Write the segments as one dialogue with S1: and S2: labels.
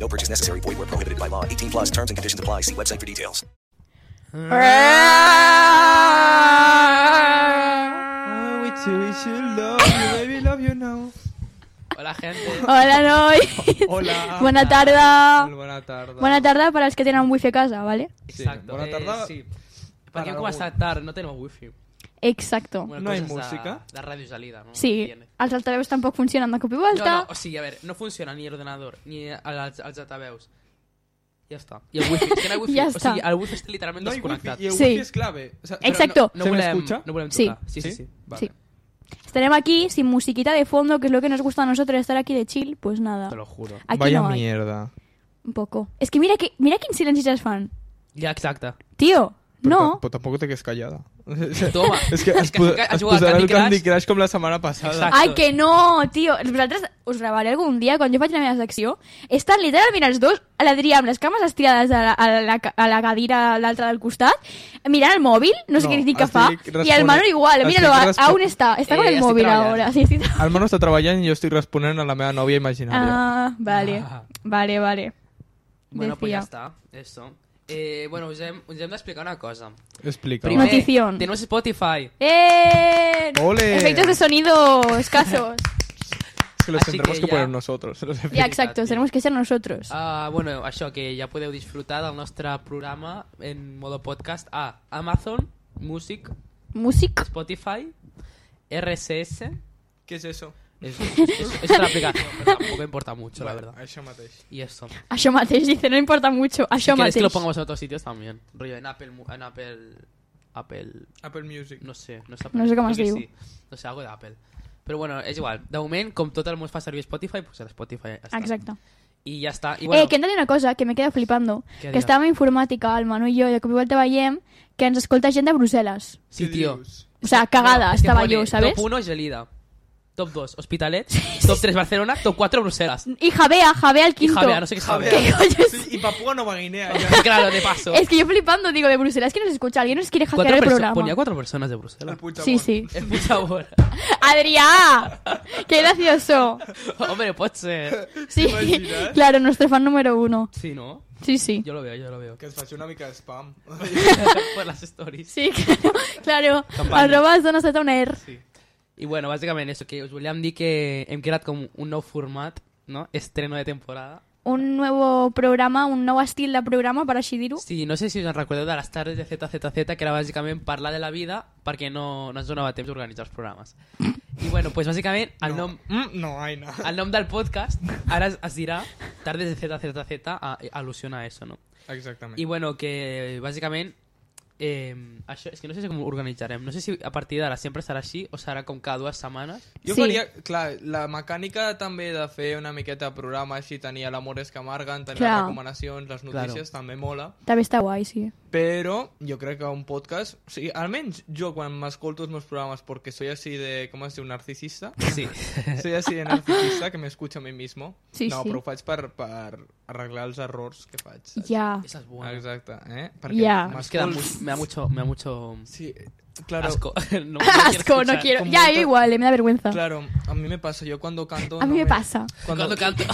S1: No purchase necessary. Void where prohibited by law. 18 plus terms and conditions apply. See website for details.
S2: Hola, gente.
S3: Hola, Noi.
S4: Hola.
S3: Bona tarda.
S4: Bona tarda.
S3: Bona tarda per als que tenen wifi a casa, ¿vale?
S2: Exacto.
S4: bona
S2: eh,
S4: tarda.
S2: sí.
S4: Per
S2: Perquè
S4: algú.
S2: com està tard, no tenim wifi.
S3: Exacto.
S2: Una
S4: No hay
S2: cosa es la-
S4: música.
S2: La radio salida, ¿no? Que
S3: Sí,
S2: viene.
S3: els altaveus tampoc funcionen de cop i
S2: No,
S3: volta.
S2: no, o sigui, a ver, no funciona ni el ordenador, ni el- els, els altaveus. Ja està. I el wifi, és que no hi ha wifi.
S3: Ja
S2: o
S3: està.
S2: sigui, el wifi està literalment
S4: No hay wifi
S2: desconnectat.
S4: y el
S3: Sí.
S4: wifi es clave. O sea,
S2: Però
S3: Exacto.
S2: No,
S4: ¿Se
S2: no
S4: me
S2: volem,
S4: escucha?
S2: no volem
S3: Sí.
S2: tocar. Sí, sí, sí.
S4: ¿Sí?
S2: Vale.
S3: Sí. Estaremos aquí sin musiquita de fondo, que es lo que nos gusta a nosotros estar aquí de chill, pues nada.
S2: Te lo juro.
S3: Aquí
S4: Vaya
S3: no hay.
S4: mierda.
S3: Un poco. Es que mira que mira quin silenci es fan.
S2: Ja, exacte.
S3: Tío,
S4: Pero
S3: no.
S4: ta- Pues tampoco te quedes callada.
S2: Toma.
S4: Es que pues, has,
S2: que has
S4: pu-
S2: ca- has
S4: has
S2: jugado al
S4: posat
S2: Candy
S4: el
S2: Crush.
S4: Candy Crush com la setmana passada.
S2: Exacte.
S3: Ai, que no, tio. Vosaltres us gravaré algun dia, quan jo faig la meva secció, estan literalment els dos, a l'Adrià amb les cames estirades a la, a la, ca- a la cadira a l'altra del costat, mirant el mòbil, no sé
S4: No,
S3: què dic que
S4: estic
S3: fa, i el
S4: responent-
S3: Manu igual,
S4: estic
S3: míralo, a, a
S4: respon-
S3: on està? Està con
S2: Eh,
S3: el
S2: estic
S3: mòbil
S2: treballant.
S3: ahora. Sí, estic...
S4: El Manu està treballant i jo estic responent a la meva nòvia imaginària.
S3: Ah, vale,
S2: Ah.
S3: vale, vale.
S2: Bueno, pues ya
S3: Decía.
S2: está. Eso. Eh, bueno, us hem, us hem d'explicar una cosa.
S4: Explica.
S3: Primer- Notición.
S2: Tenemos Spotify.
S3: ¡Eh!
S4: Ole.
S3: Efectos de sonido escasos.
S4: Es que los
S2: Así
S4: tendremos
S2: que
S4: que,
S2: ya.
S4: poner nosotros. los efectos.
S3: ya, exacto,
S2: tío.
S3: tenemos que ser nosotros.
S2: Ah, bueno, això, que ja podeu disfrutar del nostre programa en modo podcast a Amazon, Music,
S3: Music.
S2: Spotify, RSS...
S4: Què és eso?
S2: Es, es, es, es otra aplicación, pero tampoco importa mucho, la verdad.
S4: Això mateix.
S2: Y eso.
S3: A yo Mateis dice, no importa mucho. A
S2: Si
S3: yo
S2: queréis
S3: Mateis.
S2: que lo pongamos en otros sitios también. Rollo, en Apple... mu- En Apple... Apple...
S4: Apple Music.
S2: No sé, no, és Apple,
S3: No sé com
S2: crec
S3: es
S2: que
S3: diu.
S2: Sí. No sé, algo d'Apple. Però bueno, és igual. De moment, com tot el món fa servir Spotify, pues el Spotify ja està.
S3: Ah, Exacto.
S2: I ja està. I bueno,
S3: eh, que hem de dir una cosa que me queda flipando.
S2: Què
S3: Que
S2: diràs?
S3: estàvem a informàtica, el Manu i jo, i de cop i volta veiem que ens escolta gent de Brussel·les.
S2: Sí, tio.
S3: O sea, cagada
S2: No, es que
S3: estaba
S2: pone
S3: yo, ¿sabes?
S2: Top 1 es Gelida. Top 2, Hospitalet. Top 3, Barcelona. Top 4, Bruselas.
S3: Y Javea, Javea al
S2: Y
S3: quinto.
S2: Javea, no sé qué es Javea.
S3: ¿Qué coño es?
S4: I Papua Nova Guinea.
S2: claro, de paso.
S3: Es que yo flipando digo de Bruselas que nos escucha alguien, nos quiere hackear el
S2: perso-
S3: programa.
S2: Ponía cuatro personas de Bruselas.
S3: Sí, sí.
S2: Es mucha hora.
S3: ¡Adrián! ¡Qué gracioso!
S2: Hombre, pues ser.
S3: Sí,
S4: imaginas?
S3: claro, nuestro fan número uno.
S2: Sí, ¿no?
S3: Sí, sí.
S2: Yo lo veo, yo lo veo.
S4: Que ens faci una mica de spam.
S2: Por las stories.
S3: Sí, claro. claro.
S2: Campanya.
S3: Arroba zona Z una R.
S2: Sí. I bueno, bàsicament això, que us volíem dir que hem creat com un nou format, no? Estreno de temporada.
S3: Un nuevo programa, un nuevo estilo de programa para Shidiru.
S2: Sí, no sé si us en recordeu de les tardes de ZZZ, que era bàsicament parlar de la vida perquè no, no ens donava temps d'organitzar els programes. I bueno, pues, bàsicament el, nom,
S4: Mm, no, Aina.
S2: el nom del podcast ara es, es dirà tardes de ZZZ a, eh, al·lusiona a eso, no?
S4: Exactament.
S2: I bueno, que bàsicament eh, això, és que no sé si com ho organitzarem. No sé si a partir d'ara sempre serà així o serà com cada dues setmanes.
S4: Jo
S3: Sí.
S4: sí. faria, clar, la mecànica també de fer una miqueta de programa així, tenir l'Amores que amarguen, tenir
S3: Clar.
S4: les recomanacions, les notícies, claro. també mola.
S3: També està guai, sí.
S4: Però jo crec que un podcast... O sigui, almenys jo quan m'escolto els meus programes perquè soy así de... Com es diu? Narcisista?
S2: Sí.
S4: Soy así de narcisista que m'escucho a mi mismo.
S3: Sí,
S4: no,
S3: sí.
S4: però ho faig per, per arreglar els errors que faig. saps?
S3: Ja.
S2: Esa es buena.
S4: Exacte, eh?
S3: Ja.
S2: Es que da mu-
S4: m'escolto-
S2: me da mucho, me da mucho
S4: Sí, claro.
S2: asco. no, no
S3: Asco, no
S2: escuchar.
S3: quiero.
S4: con
S3: Ya,
S4: mucho-
S3: yo igual, eh, me da vergüenza.
S4: Claro, a mí me pasa, yo cuando canto...
S3: A mí
S4: no
S3: me pasa.
S2: Cuando,
S4: Cuando,
S2: canto.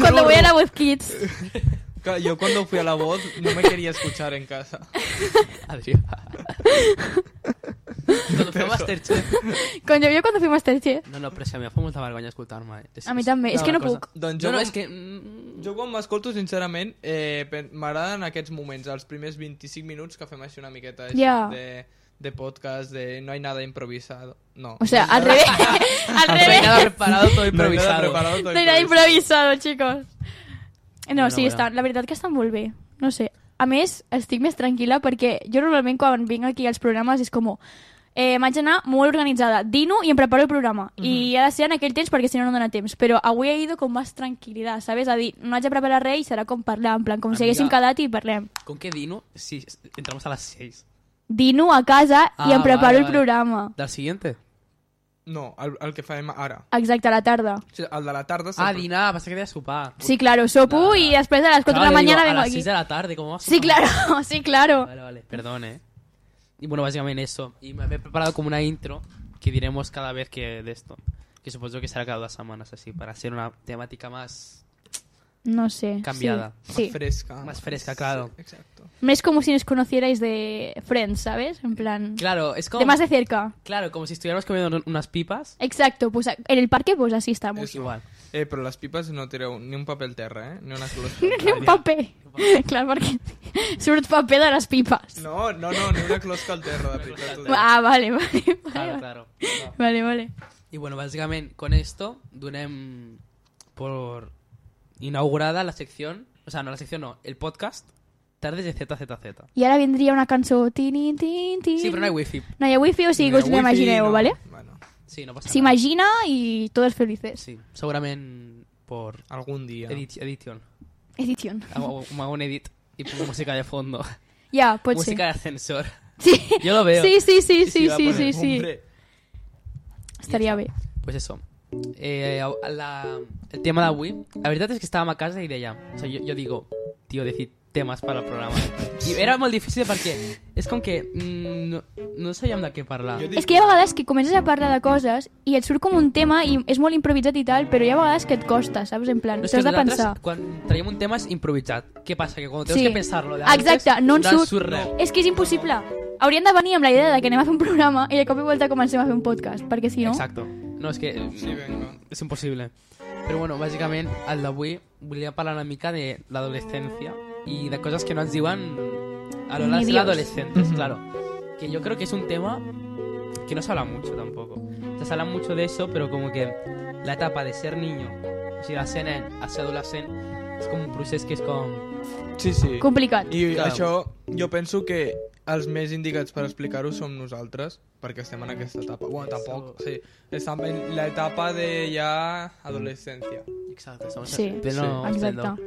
S3: Cuando voy a la voz kids.
S4: Claro, yo cuando fui a la voz no me quería escuchar en casa.
S2: Adrián. Cuando fue Masterchef.
S3: Con yo, yo cuando fui Masterchef.
S2: No, no, pero es que a mi em fa molta vergonya escoltar-me. Eh?
S3: A mi també. És
S2: una
S3: que no
S2: cosa-
S3: puc.
S4: Doncs
S2: No,
S4: jo
S2: no,
S4: com-
S2: és que... mm,
S4: Jo quan m'escolto, sincerament, eh, pen- m'agraden aquests moments, els primers 25 minuts que fem així una miqueta així,
S3: Ja.
S4: de, de podcast, de no hay nada improvisado. No.
S3: O sea, al revés. al
S2: No hay nada
S3: revés.
S2: preparado, todo
S4: No hay nada
S2: improvisado.
S4: preparado,
S3: No
S4: todo
S3: era
S4: improvisado.
S3: improvisado, chicos. No,
S2: Bueno,
S3: sí,
S2: bueno.
S3: estan, la veritat que estan molt bé. No sé. A més, estic més tranquil·la perquè jo normalment quan vinc aquí als programes és com eh, vaig anar molt organitzada. Dino i em preparo el programa.
S2: Mhm.
S3: I ha de ser en aquell temps perquè si no no dona temps. Però avui he ido con más tranquil·litat, ¿sabes? A dir, no haig de preparar res i serà com parlar, en plan, com si
S2: Amiga.
S3: haguéssim quedat i parlem.
S2: ¿Con qué Dino? Si entramos a las 6.
S3: Dino a casa i
S2: Ah,
S3: em preparo
S2: vale,
S3: el
S2: vale.
S3: programa.
S2: ¿Del siguiente?
S4: No, el, el que farem ara.
S3: Exacte, a la tarda.
S4: O sigui, el de la tarda...
S2: Ah,
S4: sempre-
S2: Dina, pasa que te sopar.
S3: Sí, claro, sopo
S2: Nada.
S3: y después a las 4 de la
S2: Claro, digo,
S3: mañana
S2: A
S3: vengo
S2: las
S3: aquí.
S2: 6 de la tarde, ¿cómo vas? a
S3: Sí,
S2: sopar?
S3: claro, sí, claro.
S2: Vale, vale, perdón, eh. Y bueno, básicamente eso. Y me me he preparado como una intro que diremos cada vez que de esto. Que supongo que será cada dos semanas así, para hacer una temática más...
S3: No sé.
S2: Cambiada.
S3: Sí.
S4: Más
S3: sí.
S4: fresca.
S2: Más fresca, claro.
S4: Sí, exacto.
S3: Es como si nos conocierais de Friends, ¿sabes? En plan...
S2: Claro, es como...
S3: De más de cerca.
S2: Claro, como si estuviéramos comiendo unas pipas.
S3: Exacto, pues a- en el parque pues así estamos.
S4: Eso.
S2: Igual.
S4: Eh, però les pipes no tireu ni un paper al terra, eh? Ni una sola
S3: Ni
S4: closca.
S3: un paper. Clar, perquè surt paper de les pipes.
S4: No, no, no, ni una closca al terra, de veritat. ho dic.
S3: Ah, vale, vale, vale.
S2: Claro,
S3: vale.
S2: claro.
S3: Vale, vale.
S2: Y bueno, básicamente con esto donem por inaugurada la sección, o sea, no la sección, no, el podcast Tardes de ZZZ.
S3: I ara vindria una cançó... Tin, tin, tin.
S2: Sí, pero no hay wifi.
S3: No hi ha wifi, o sigui
S4: Ni
S3: que us
S4: wifi,
S3: l'imagineu,
S4: no.
S3: vale?
S4: Bueno,
S2: Sí, no pasa nada.
S3: S'imagina i todos felices.
S2: Sí, seguramente por
S4: algun dia.
S2: edit- edición.
S3: Edición.
S2: Hago hago un edit y pongo música de fondo.
S3: Ja, pot
S2: música
S3: ser.
S2: de ascensor.
S3: Pues Sí.
S2: Yo lo veo.
S3: Sí, sí, sí, sí,
S2: va a
S3: sí,
S2: poner
S3: sí, sí.
S4: Hombre,
S3: Estaria bé.
S2: Pues eso. Eh, a- la- el tema de Wii. La verdad es que estaba a casa y de allá. O sea, yo, yo digo, tío, decir temas para el programa. Y era muy difícil porque es con que mm, no, no sabíem de qué hablar.
S4: Jo dic-
S3: És que hi ha vegades que comences a parlar de coses i et surt com un tema i és molt improvisat i tal, però hi ha vegades que et costa, saps? En plan,
S2: No,
S3: no
S2: és
S3: t'has
S2: que
S3: de
S2: nosaltres,
S3: pensar.
S2: quan traiem un tema és improvisat. Què passa? Que quan tens que pensar-lo de antes,
S3: Exacte, no en surt.
S2: res.
S3: És que és impossible. Hauríem de venir amb la idea de que anem a fer un programa i de cop i volta comencem a fer un podcast, perquè si no...
S2: Exacto. No, és que eh,
S4: Sí, venga.
S2: és impossible. Però bueno, bàsicament, el d'avui volia parlar una mica de l'adolescència i de coses que no ens diuen a l'hora de
S3: Ni
S2: ser
S3: Dios.
S2: adolescentes, claro. Que yo creo que es un tema que no se habla mucho tampoco. Se habla mucho de eso, pero como que la etapa de ser niño, o sigui, de ser nen a ser adolescent, és com un procés que és com...
S4: Sí, sí.
S3: Complicat.
S4: I
S2: Clar.
S4: això, jo penso que els més indicats per explicar-ho som nosaltres, perquè estem en aquesta etapa. Bueno, tampoc, sí. Estem en l'etapa de ja adolesceència.
S2: Exacte, som
S3: Sí.
S2: en pleno
S3: Exacte.
S2: esplendor.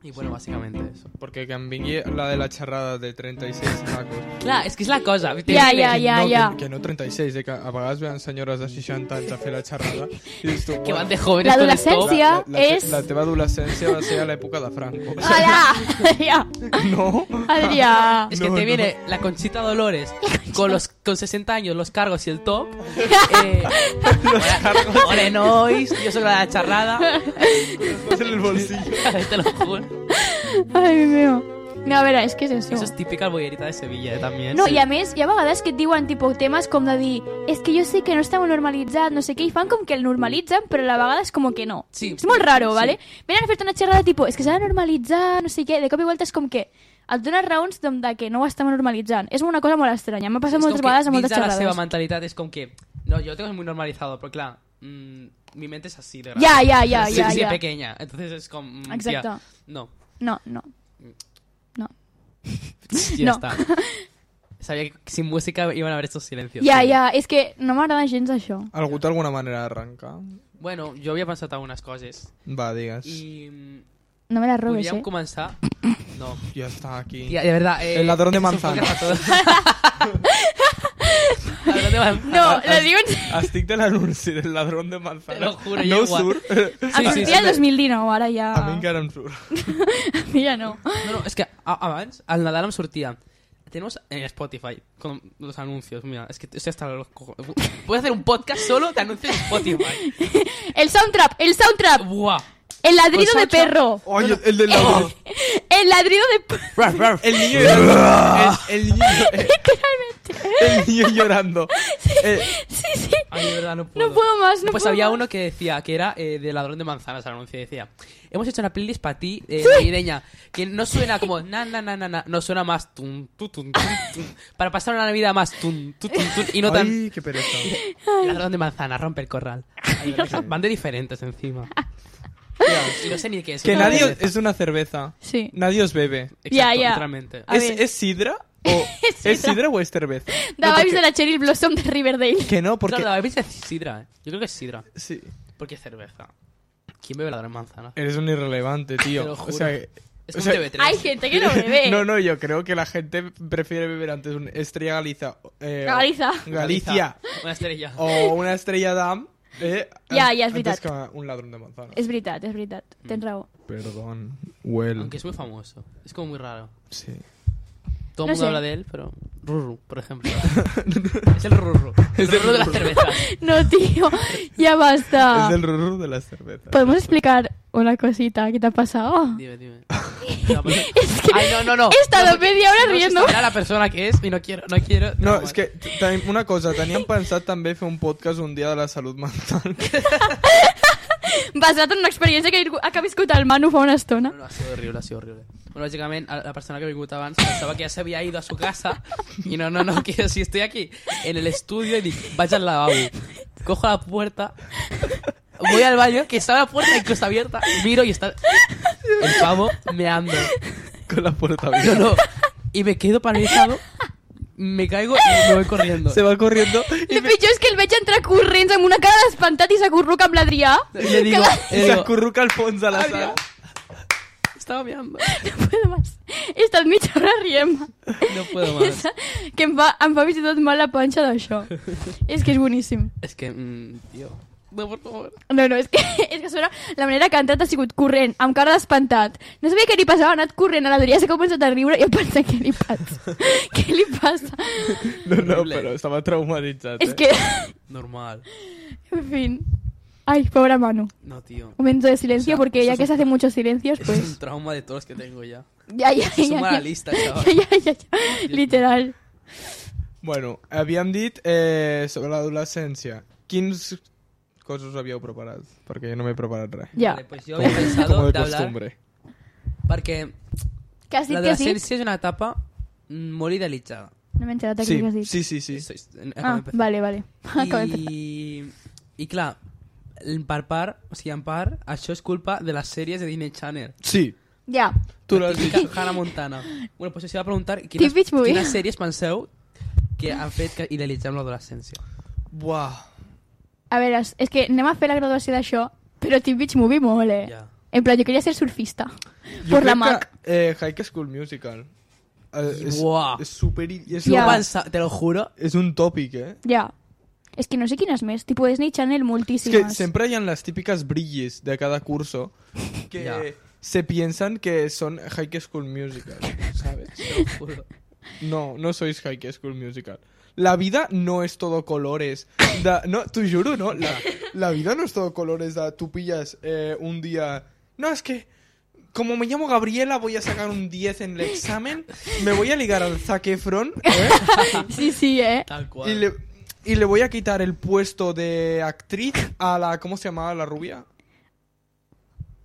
S2: Y bueno, básicamente eso.
S4: Perquè que em vingui la de la xerrada de 36 macos.
S2: Clar, és que és la cosa.
S3: Ja, ja, ja,
S4: no,
S3: ja.
S4: Que, que no 36, eh, que a vegades veuen senyores de 60 anys a fer la xerrada. I dius tu,
S2: Que van de
S4: bueno,
S2: jóvenes con el top.
S3: L'adolescència.
S4: la, la,
S3: és-
S4: la teva adolescència va ser a l'època de Franco.
S3: Hola! Adrià!
S4: No?
S3: Adrià!
S2: Es que
S4: No,
S2: te
S4: no.
S2: viene la Conchita Dolores con los con 60 años, los cargos y el top. Eh, hola, hola, nois, yo soy la charrada.
S4: Vas en el bolsillo.
S2: Te lo juro.
S3: Ai, meu. No, a veure, és que és això.
S2: Eso es típica bollerita de Sevilla eh, también.
S3: No,
S2: Sí.
S3: i a més, hi ha vegades que et diuen tipus temes com de dir és que jo sé que no està molt normalitzat, no sé què, i fan com que el normalitzen, però a la vegada és com que no.
S2: Sí.
S3: És molt raro,
S2: Sí.
S3: vale? Venen a fer-te una xerrada tipus, és que s'ha de normalitzar, no sé què, de cop i volta és com que et dones raons doncs, de que no ho estem normalitzant. És una cosa molt estranya, m'ha
S2: És
S3: passat
S2: com
S3: moltes
S2: que
S3: vegades a moltes
S2: dins de la seva
S3: xerrades.
S2: mentalidad es con que no, yo lo tengo muy normalizado, pero claro, mm, mi mente es así de grande.
S3: Ja, ja, ja,
S2: Sí,
S3: ja,
S2: sí,
S3: ja.
S2: pequeña. Entonces es como mm, tía,
S3: Exacto.
S2: no.
S3: No, no. No.
S2: Ya
S3: No.
S2: está. Sabía que sin música iban a haber estos silencios.
S3: Ja, ja, és que no m'agrada gens això.
S4: Algú té alguna manera d'arrencar?
S2: Bueno, yo había pensado algunas cosas.
S4: Va, digues.
S2: Y mm,
S3: No me la robes,
S2: podríamos
S3: eh?
S2: comenzar. No.
S4: Ja està aquí.
S2: Tía, de verdad. eh,
S4: El ladrón de
S2: esto es un
S4: manzanas.
S2: podcast a todos. ladrón de manzanas.
S3: No, la diuen...
S4: Estic de l'anunci del ladrón de manzana.
S2: Te lo juro,
S4: no
S2: jo igual.
S4: us
S2: Ah.
S4: surt.
S3: Sí, em sortia el 2019, ara ja...
S4: A mi encara em surt.
S3: Ja no.
S2: No, no, es que a- avance, al Nadal me surtía. Tenemos en Spotify con los anuncios. Mira, es que estoy hasta los cojones. Puedes hacer un podcast solo de anuncios en Spotify.
S3: El soundtrap, el soundtrap,
S2: Buah.
S3: el ladrido de
S2: soundtrap.
S3: perro.
S4: Oye, el del
S2: Oh.
S4: ladrón.
S3: El ladrido de perro.
S4: El niño llorando. El, el niño, el niño llorando. Eh,
S3: Sí, sí.
S2: Ay, de verdad, no puedo.
S3: No puedo más, no
S2: pues
S3: puedo
S2: había
S3: más.
S2: uno que decía que era eh, de ladrón de manzanas el anuncio decía hemos hecho una playlist para ti eh, navideña que no suena como na na na na na no suena más tun, tu, tun, tun, tun, para pasar una navidad más tun, tu, tun, tun, y no tan
S4: Ay, qué pereza.
S2: ladrón de manzana rompe el corral Ay, van de diferentes encima Tío, y no sé ni qué es
S4: Que
S2: una
S4: nadie...
S2: cerveza.
S4: Es una cerveza.
S3: Sí.
S4: Nadie os bebe.
S2: Exacto,
S3: Ya, ya.
S2: literalmente.
S3: A
S4: ¿Es,
S3: ver.
S4: ¿Es sidra? O és sidra o és cervesa?
S3: De vibes de la Cheryl Blossom de Riverdale.
S4: Que no,
S2: Porque...
S4: porque...
S2: la bebida es sidra, ¿eh? Yo creo que es sidra.
S4: Sí.
S2: Porque es cerveza. ¿Quién bebe la gran manzana?
S4: Eres un irrelevante, tío.
S2: Te lo juro.
S4: O sea,
S2: Es
S4: Eh, o
S2: un
S4: sea-
S2: TV3.
S3: Hay gente que no bebe.
S4: No, no, yo creo que la gente prefiere beber antes una estrella Galiza. eh,
S3: Galiza.
S4: Galicia.
S2: Una estrella.
S4: o una estrella Dam. Eh,
S3: Ya,
S4: an-
S3: ya, es
S4: antes
S3: veritat.
S4: que un ladrón de manzana.
S3: És veritat, és veritat.
S2: Mm.
S3: Tens raó.
S4: Perdón. Well.
S2: Aunque es muy famoso. Es como muy raro.
S4: Sí.
S2: Todo el mundo
S3: No sé.
S2: habla de él, pero... Rurru, por ejemplo. es el Rurru. El Rurru de la cerveza.
S3: No, tío, ya
S4: Es
S3: basta.
S4: del rurru de las cervezas.
S3: ¿Podemos explicar una cosita que te ha pasado?
S2: Dime, dime. No, pero-
S3: Es que
S2: Ay, no, no, no.
S3: he estado
S2: No, porque-
S3: media hora
S2: no, es que
S3: riendo.
S2: sabrá la persona que es y no quiero, no quiero.
S4: No,
S2: Nada
S4: és
S2: más.
S4: que tenim una cosa, teníem pensat també fer un podcast un dia de la salut mental.
S3: Basat en una experiència que ha vingut- que ha viscut el Manu fa una estona.
S2: No, no, ha sido horrible, ha sido horrible. Bueno, básicamente, a la persona que me gustaba antes pensaba que ya se había ido a su casa. Y no, no, no, que si estoy aquí en el estudio y dije, vaya al lavabo. Cojo la puerta, voy al baño, que estaba la puerta y que está abierta. Miro y está el pavo meando.
S4: Con la puerta
S2: No,
S4: abierta.
S2: no. Y me quedo paralizado, me caigo y me voy corriendo.
S4: Se va corriendo
S3: El pitjor és que el veig entrar corrents amb una cara d'espantat i s'acurruca amb l'Adrià.
S2: Y le digo,
S4: i
S2: le digo,
S4: s'acurruca al fons de la
S2: "Adrià,
S4: sala.
S2: estaba meando.
S3: No puedo más. He estat mitja hora rient
S2: No puedo más.
S3: Que em fa, em fa fins i tot mal la panxa d'això. és que és boníssim.
S2: Es que, mm, tío. No, por favor.
S3: No, no, és que, és que sobre la manera que ha entrat ha sigut corrent, amb cara d'espantat. No sabia què li passava, ha anat corrent a l'Adrià, s'ha començat a riure i jo pensava, què li passa? què li passa?
S4: No, no,
S2: Horrible.
S4: però estava traumatitzat. eh?
S3: és que,
S2: Normal.
S3: en fin. Ay, pobre Manu.
S2: No, tío.
S3: Momento de silencio,
S2: O sea,
S3: porque
S2: eso
S3: ya
S2: es
S3: que
S2: un-
S3: se hace muchos silencios,
S2: Eso Es un
S3: pues...
S2: trauma de todos los que tengo ya.
S3: Ya, ya,
S2: Se
S3: ya,
S2: suma a
S3: ya.
S2: la lista,
S3: ya,
S2: chaval.
S3: ya, ya, ya. Literal.
S4: Bueno, havíem dit eh, sobre l'adolescència. Quins coses havíeu preparat? Perquè jo no m'he preparat res.
S3: Ya.
S2: Vale, pues yo había pensado
S4: com
S2: de,
S4: de
S2: hablar.
S4: costumbre.
S2: Porque
S3: ¿Qué has
S2: la
S3: dicho que Pues sí?
S2: adolescencia es una etapa muy idealizada.
S3: No me he enterado de
S4: Sí,
S3: qué has dicho.
S4: sí, sí, sí.
S2: Soy- acabo de
S3: Ah,
S2: empezar.
S3: vale, vale. Acabo de empezar.
S2: I, i clar, en part part, o sigui, en part, això és culpa de les sèries de Disney Channel.
S4: Sí,
S3: Ya.
S4: tu
S2: La
S4: l'has dit.
S2: típica Hannah Montana. Bueno, pues us iba a preguntar quines,
S3: Típic movie.
S2: quines sèries penseu que han fet que idealitzem l'adolescència.
S4: Buah.
S3: A veure, és- és que anem a fer la graduació d'això, però Teen Beach Movie molt, eh?
S2: Ja.
S3: En plan, jo quería ser surfista.
S4: Jo
S3: por la
S4: crec
S3: Mac.
S4: Que, eh, High School Musical. Eh, és,
S2: Buah.
S4: és super... És,
S2: Jo
S3: Ja.
S4: un,
S2: pensa, te lo juro,
S4: és un tòpic, eh?
S3: Ja. És que no sé quines més. Tipo Disney Channel
S4: Es
S3: moltíssimes.
S4: que siempre hayan las típicas brillis de cada curso que
S2: Ya.
S4: se piensan que son High School Musical, ¿sabes?
S2: te lo juro.
S4: No, no sois High School Musical. La vida no es todo colores. Da- no, tú juro, ¿no? La, la vida no es todo colores. da- tú pillas eh, un día... No, es que como me llamo Gabriela voy a sacar un 10 en el examen, me voy a ligar al Zac Efron, ¿eh?
S3: Sí, sí, eh?
S2: Tal
S4: Y
S2: qual.
S4: le, y le voy a quitar el puesto de actriz a la. ¿Cómo se llamaba la rubia?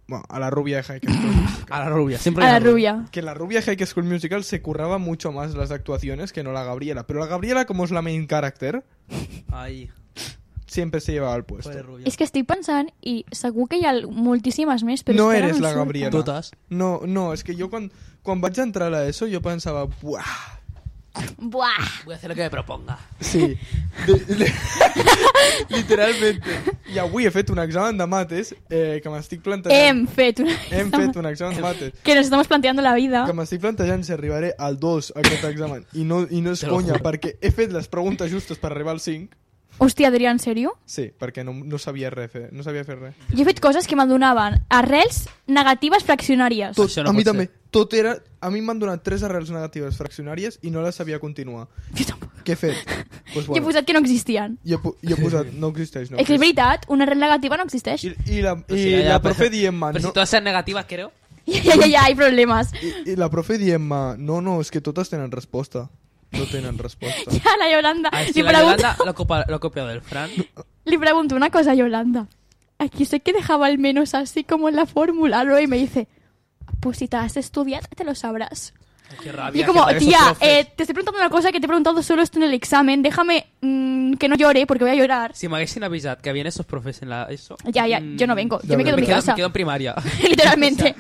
S4: Bueno, a la rubia de High School Musical.
S2: A la rubia, sempre
S3: A
S2: hi ha
S3: la rubia.
S4: Que la rubia de High School Musical se curraba mucho más las actuaciones que no la Gabriela. Pero la Gabriela, como es la main character,
S2: Ai,
S4: siempre se llevaba el
S2: pobre
S4: puesto.
S2: rubia.
S3: És que estic pensant i segur que hi ha moltíssimes més, però
S4: No
S3: és que ara
S4: eres
S3: no em
S4: la
S3: surten.
S4: Gabriela.
S2: Totes.
S4: No, no, es que yo cuando, cuando vaig a entrar a eso, yo pensaba, ¡buah!
S3: Buah!
S2: Voy a hacer lo que me proponga.
S4: Sí. De- de- literalmente. I avui he fet un examen de mates eh, que m'estic plantejant...
S3: Hem fet una...
S4: Hem fet un examen de mates.
S3: Que nos estamos planteando la vida.
S4: que m'estic plantejant si arribaré al 2 a aquest examen i no, i no és
S2: Te lo
S4: conya
S2: juro.
S4: perquè he fet les preguntes justes per arribar al 5
S3: Hòstia, Adrià, en sèrio?
S4: sí, perquè no, no sabia res fer, no sabia fer res
S3: Jo he fet coses que me'n donaven arrels negatives fraccionàries.
S4: tot,
S2: Això no
S4: a mi
S2: pot
S4: també, tot era a mi m'han donat tres arrels negatives fraccionàries i no les sabia continuar
S3: Jo tampoc.
S4: què he fet? Pues,
S3: Jo he posat que no existien.
S4: jo, he, pu- jo he posat, no existeix no
S3: és que
S4: existeix.
S3: és veritat, una arrel negativa no existeix.
S4: i, i la, i
S2: Sí, ja, ja,
S4: la
S2: però-
S4: profe dient-me
S2: Però
S4: no,
S2: si todas sean negativas, creo.
S3: Ja, ja, ja, ja, hi ha problemes.
S4: i, i la profe dient-me no, no, és que totes tenen resposta no tenen resposta
S3: Ja, la Yolanda.
S2: A ver,
S3: li,
S2: si Ah, la
S3: pregunto,
S2: Yolanda lo, copa- lo ha copiado del Fran.
S3: li pregunto una cosa a Yolanda. Aquí sé que dejaba al menos así como en la fórmula, ¿no? Y me dice, pues si te has estudiado, te lo sabrás.
S2: Qué
S3: Y
S2: rabia.
S3: yo como,
S2: qué rabia
S3: tía,
S2: esos profes.
S3: eh, te estoy preguntando una cosa que te he preguntado solo esto en el examen, déjame mm, que no llore porque voy a llorar.
S2: Si me haguesen avisado que habían esos profes en la... Eso, Mm,
S3: Ya, ya, yo no vengo, yo me quedo
S2: me
S3: en mi
S2: quedo,
S3: casa.
S2: me quedo en primaria.
S3: Literalmente.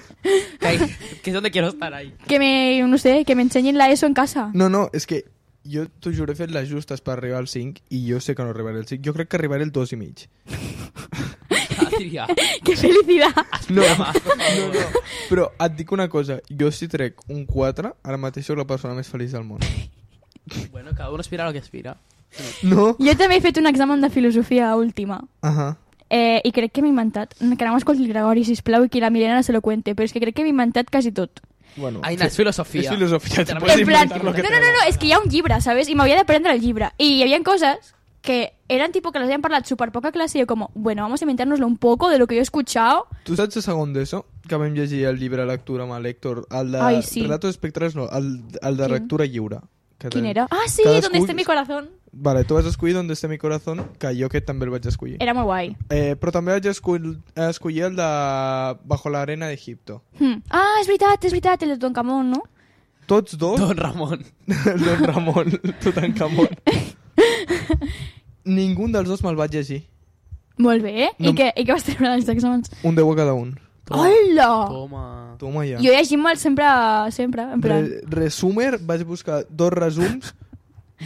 S2: que, ahí- que es donde quiero estar ahí.
S3: Que me, no sé, que me enseñen la ESO en casa.
S4: No, no, és que jo t'ho juro he fet les justes per arribar al 5 i jo sé que no arribaré al 5. Jo crec que arribaré al 2 i mig.
S2: Ah, tía.
S3: ¡Qué felicidad!
S4: No,
S2: Mamá, por favor.
S4: però et dic una cosa. Jo si trec un 4, ara mateix sóc la persona més feliç del món.
S2: Bueno, cada uno aspira a lo que aspira.
S4: No?
S3: Jo també he fet un examen de filosofia a última.
S4: Ahà.
S3: Eh, I crec que m'he inventat, Mm, que no m'escolti el Gregori, sisplau, i que la Milena no se lo cuente, però és que crec que m'he inventat quasi tot.
S4: Bueno,
S2: Aina, es filosofía.
S4: És filosofia, te
S2: En
S4: pots
S3: en plan, no,
S4: inventar
S3: no,
S4: lo que
S3: no, no, és que hi ha un llibre, ¿sabes? I m'havia de prendre el llibre. I hi havia coses que eran tipo que les habían parlat súper poca clase y yo como, bueno, vamos a inventarnoslo un poco de lo que yo he escuchado.
S4: Tu saps el segon d'ESO? Que vam llegir el llibre de lectura amb l'Hèctor. El de
S3: Ai, sí.
S4: Relatos Espectrals, no. El, el de
S3: Quin?
S4: lectura lliure. Que
S3: ¿Quién
S4: tenim.
S3: era? Ah, sí,
S4: Cadascú-
S3: donde esté mi corazón.
S4: Vale, tu vas escollir Donde esté mi corazón, que jo aquest també el vaig escollir.
S3: Era muy guay.
S4: Eh, però també vaig escoll- escollir el de Bajo la arena d'Egipto.
S3: Hmm. Ah, és veritat, és veritat, el de Toncamón, no?
S4: Tots dos,
S2: Don Ramón.
S4: Don Ramon, Tutankamon. Ningú dels dos me'l vaig llegir.
S3: Molt bé, eh?
S4: No. em-
S3: I, què, I què vas treure dels exàmens?
S4: Un 10 a cada un.
S3: Hola!
S2: Toma.
S4: Toma ja.
S3: Jo llegim-me'l sempre, sempre, en plan...
S4: Re resumer, vaig buscar dos resums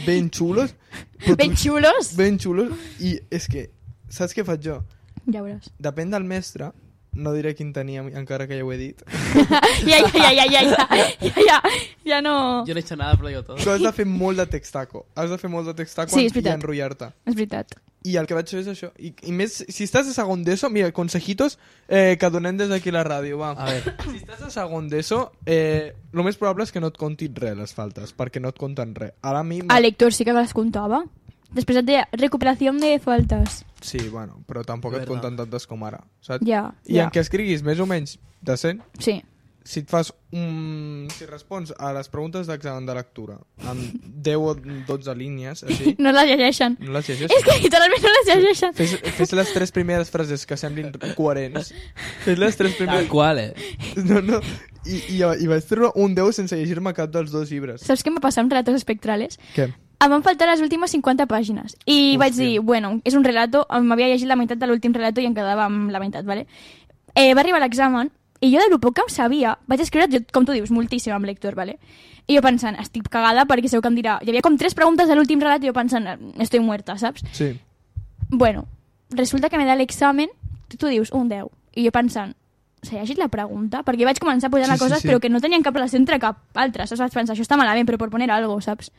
S4: ben xulos. però
S3: Ben
S4: tu-
S3: xulos!
S4: Ben xulos. I és que, saps què faig jo?
S3: Ja veuràs.
S4: Depèn del mestre, no diré quin tenia, encara que ja ho he dit.
S3: ja, ja, ja, ja, ja, ja, ja, ja, ja no...
S2: Yo no he hecho nada, pero yo todo.
S4: Tu has de fer molt de textaco. Has de fer molt de textaco
S3: Sí, és
S4: i
S3: veritat.
S4: enrotllar-te.
S3: És veritat.
S4: I el que vaig fer és això. I, i més, si estàs a segon d'ESO, mira, consejitos eh, que donem des d'aquí la ràdio, va.
S2: A ver.
S4: Si estàs a segon d'ESO, eh, el més probable és que no et contin res les faltes, perquè no et conten res. Ara a mi...
S3: A lector sí que les contava. Després et deia recuperación de faltes.
S4: Sí, bueno, però tampoc et
S2: Verdad.
S4: conten tantes com ara, saps?
S3: Ja,
S4: I
S3: ja.
S4: en què escriguis més o menys decent,
S3: Sí.
S4: si et fas un... Si respons a les preguntes d'examen de lectura amb 10 o 12 línies, així,
S3: No les llegeixen.
S4: no les
S3: És
S4: llegeixes.
S3: que literalment no les llegeixen.
S4: Fes, fes les tres primeres frases que semblin coherents. Fes les tres
S2: Tal
S4: primeres...
S2: cual, eh.
S4: No, no. I, i, i vaig treure un 10 sense llegir-me cap dels dos llibres.
S3: Saps què m'ha passat amb relatos espectrales?
S4: Què?
S3: Em van faltar les últimes 50 pàgines. I
S4: Hòstia.
S3: vaig dir, bueno, és un relato, em- m'havia llegit la meitat de l'últim relato i em quedava amb la meitat, ¿vale? Eh, va arribar l'examen i jo de lo poc que em sabia, vaig escriure, jo, com tu dius, moltíssim amb lector, ¿vale? I jo pensant, estic cagada perquè segur que em dirà... Hi havia com tres preguntes de l'últim relat i jo pensant, estoy muerta, saps?
S4: Sí.
S3: Bueno, resulta que me da l'examen, tu, tu dius un 10, i jo pensant, s'ha llegit la pregunta? Perquè vaig començar posant
S4: Sí,
S3: sí,
S4: sí,
S3: coses
S4: sí.
S3: sí, sí. però que no tenien cap relació entre cap altra, saps? Vaig pensar, això està malament, però per poner alguna cosa, saps?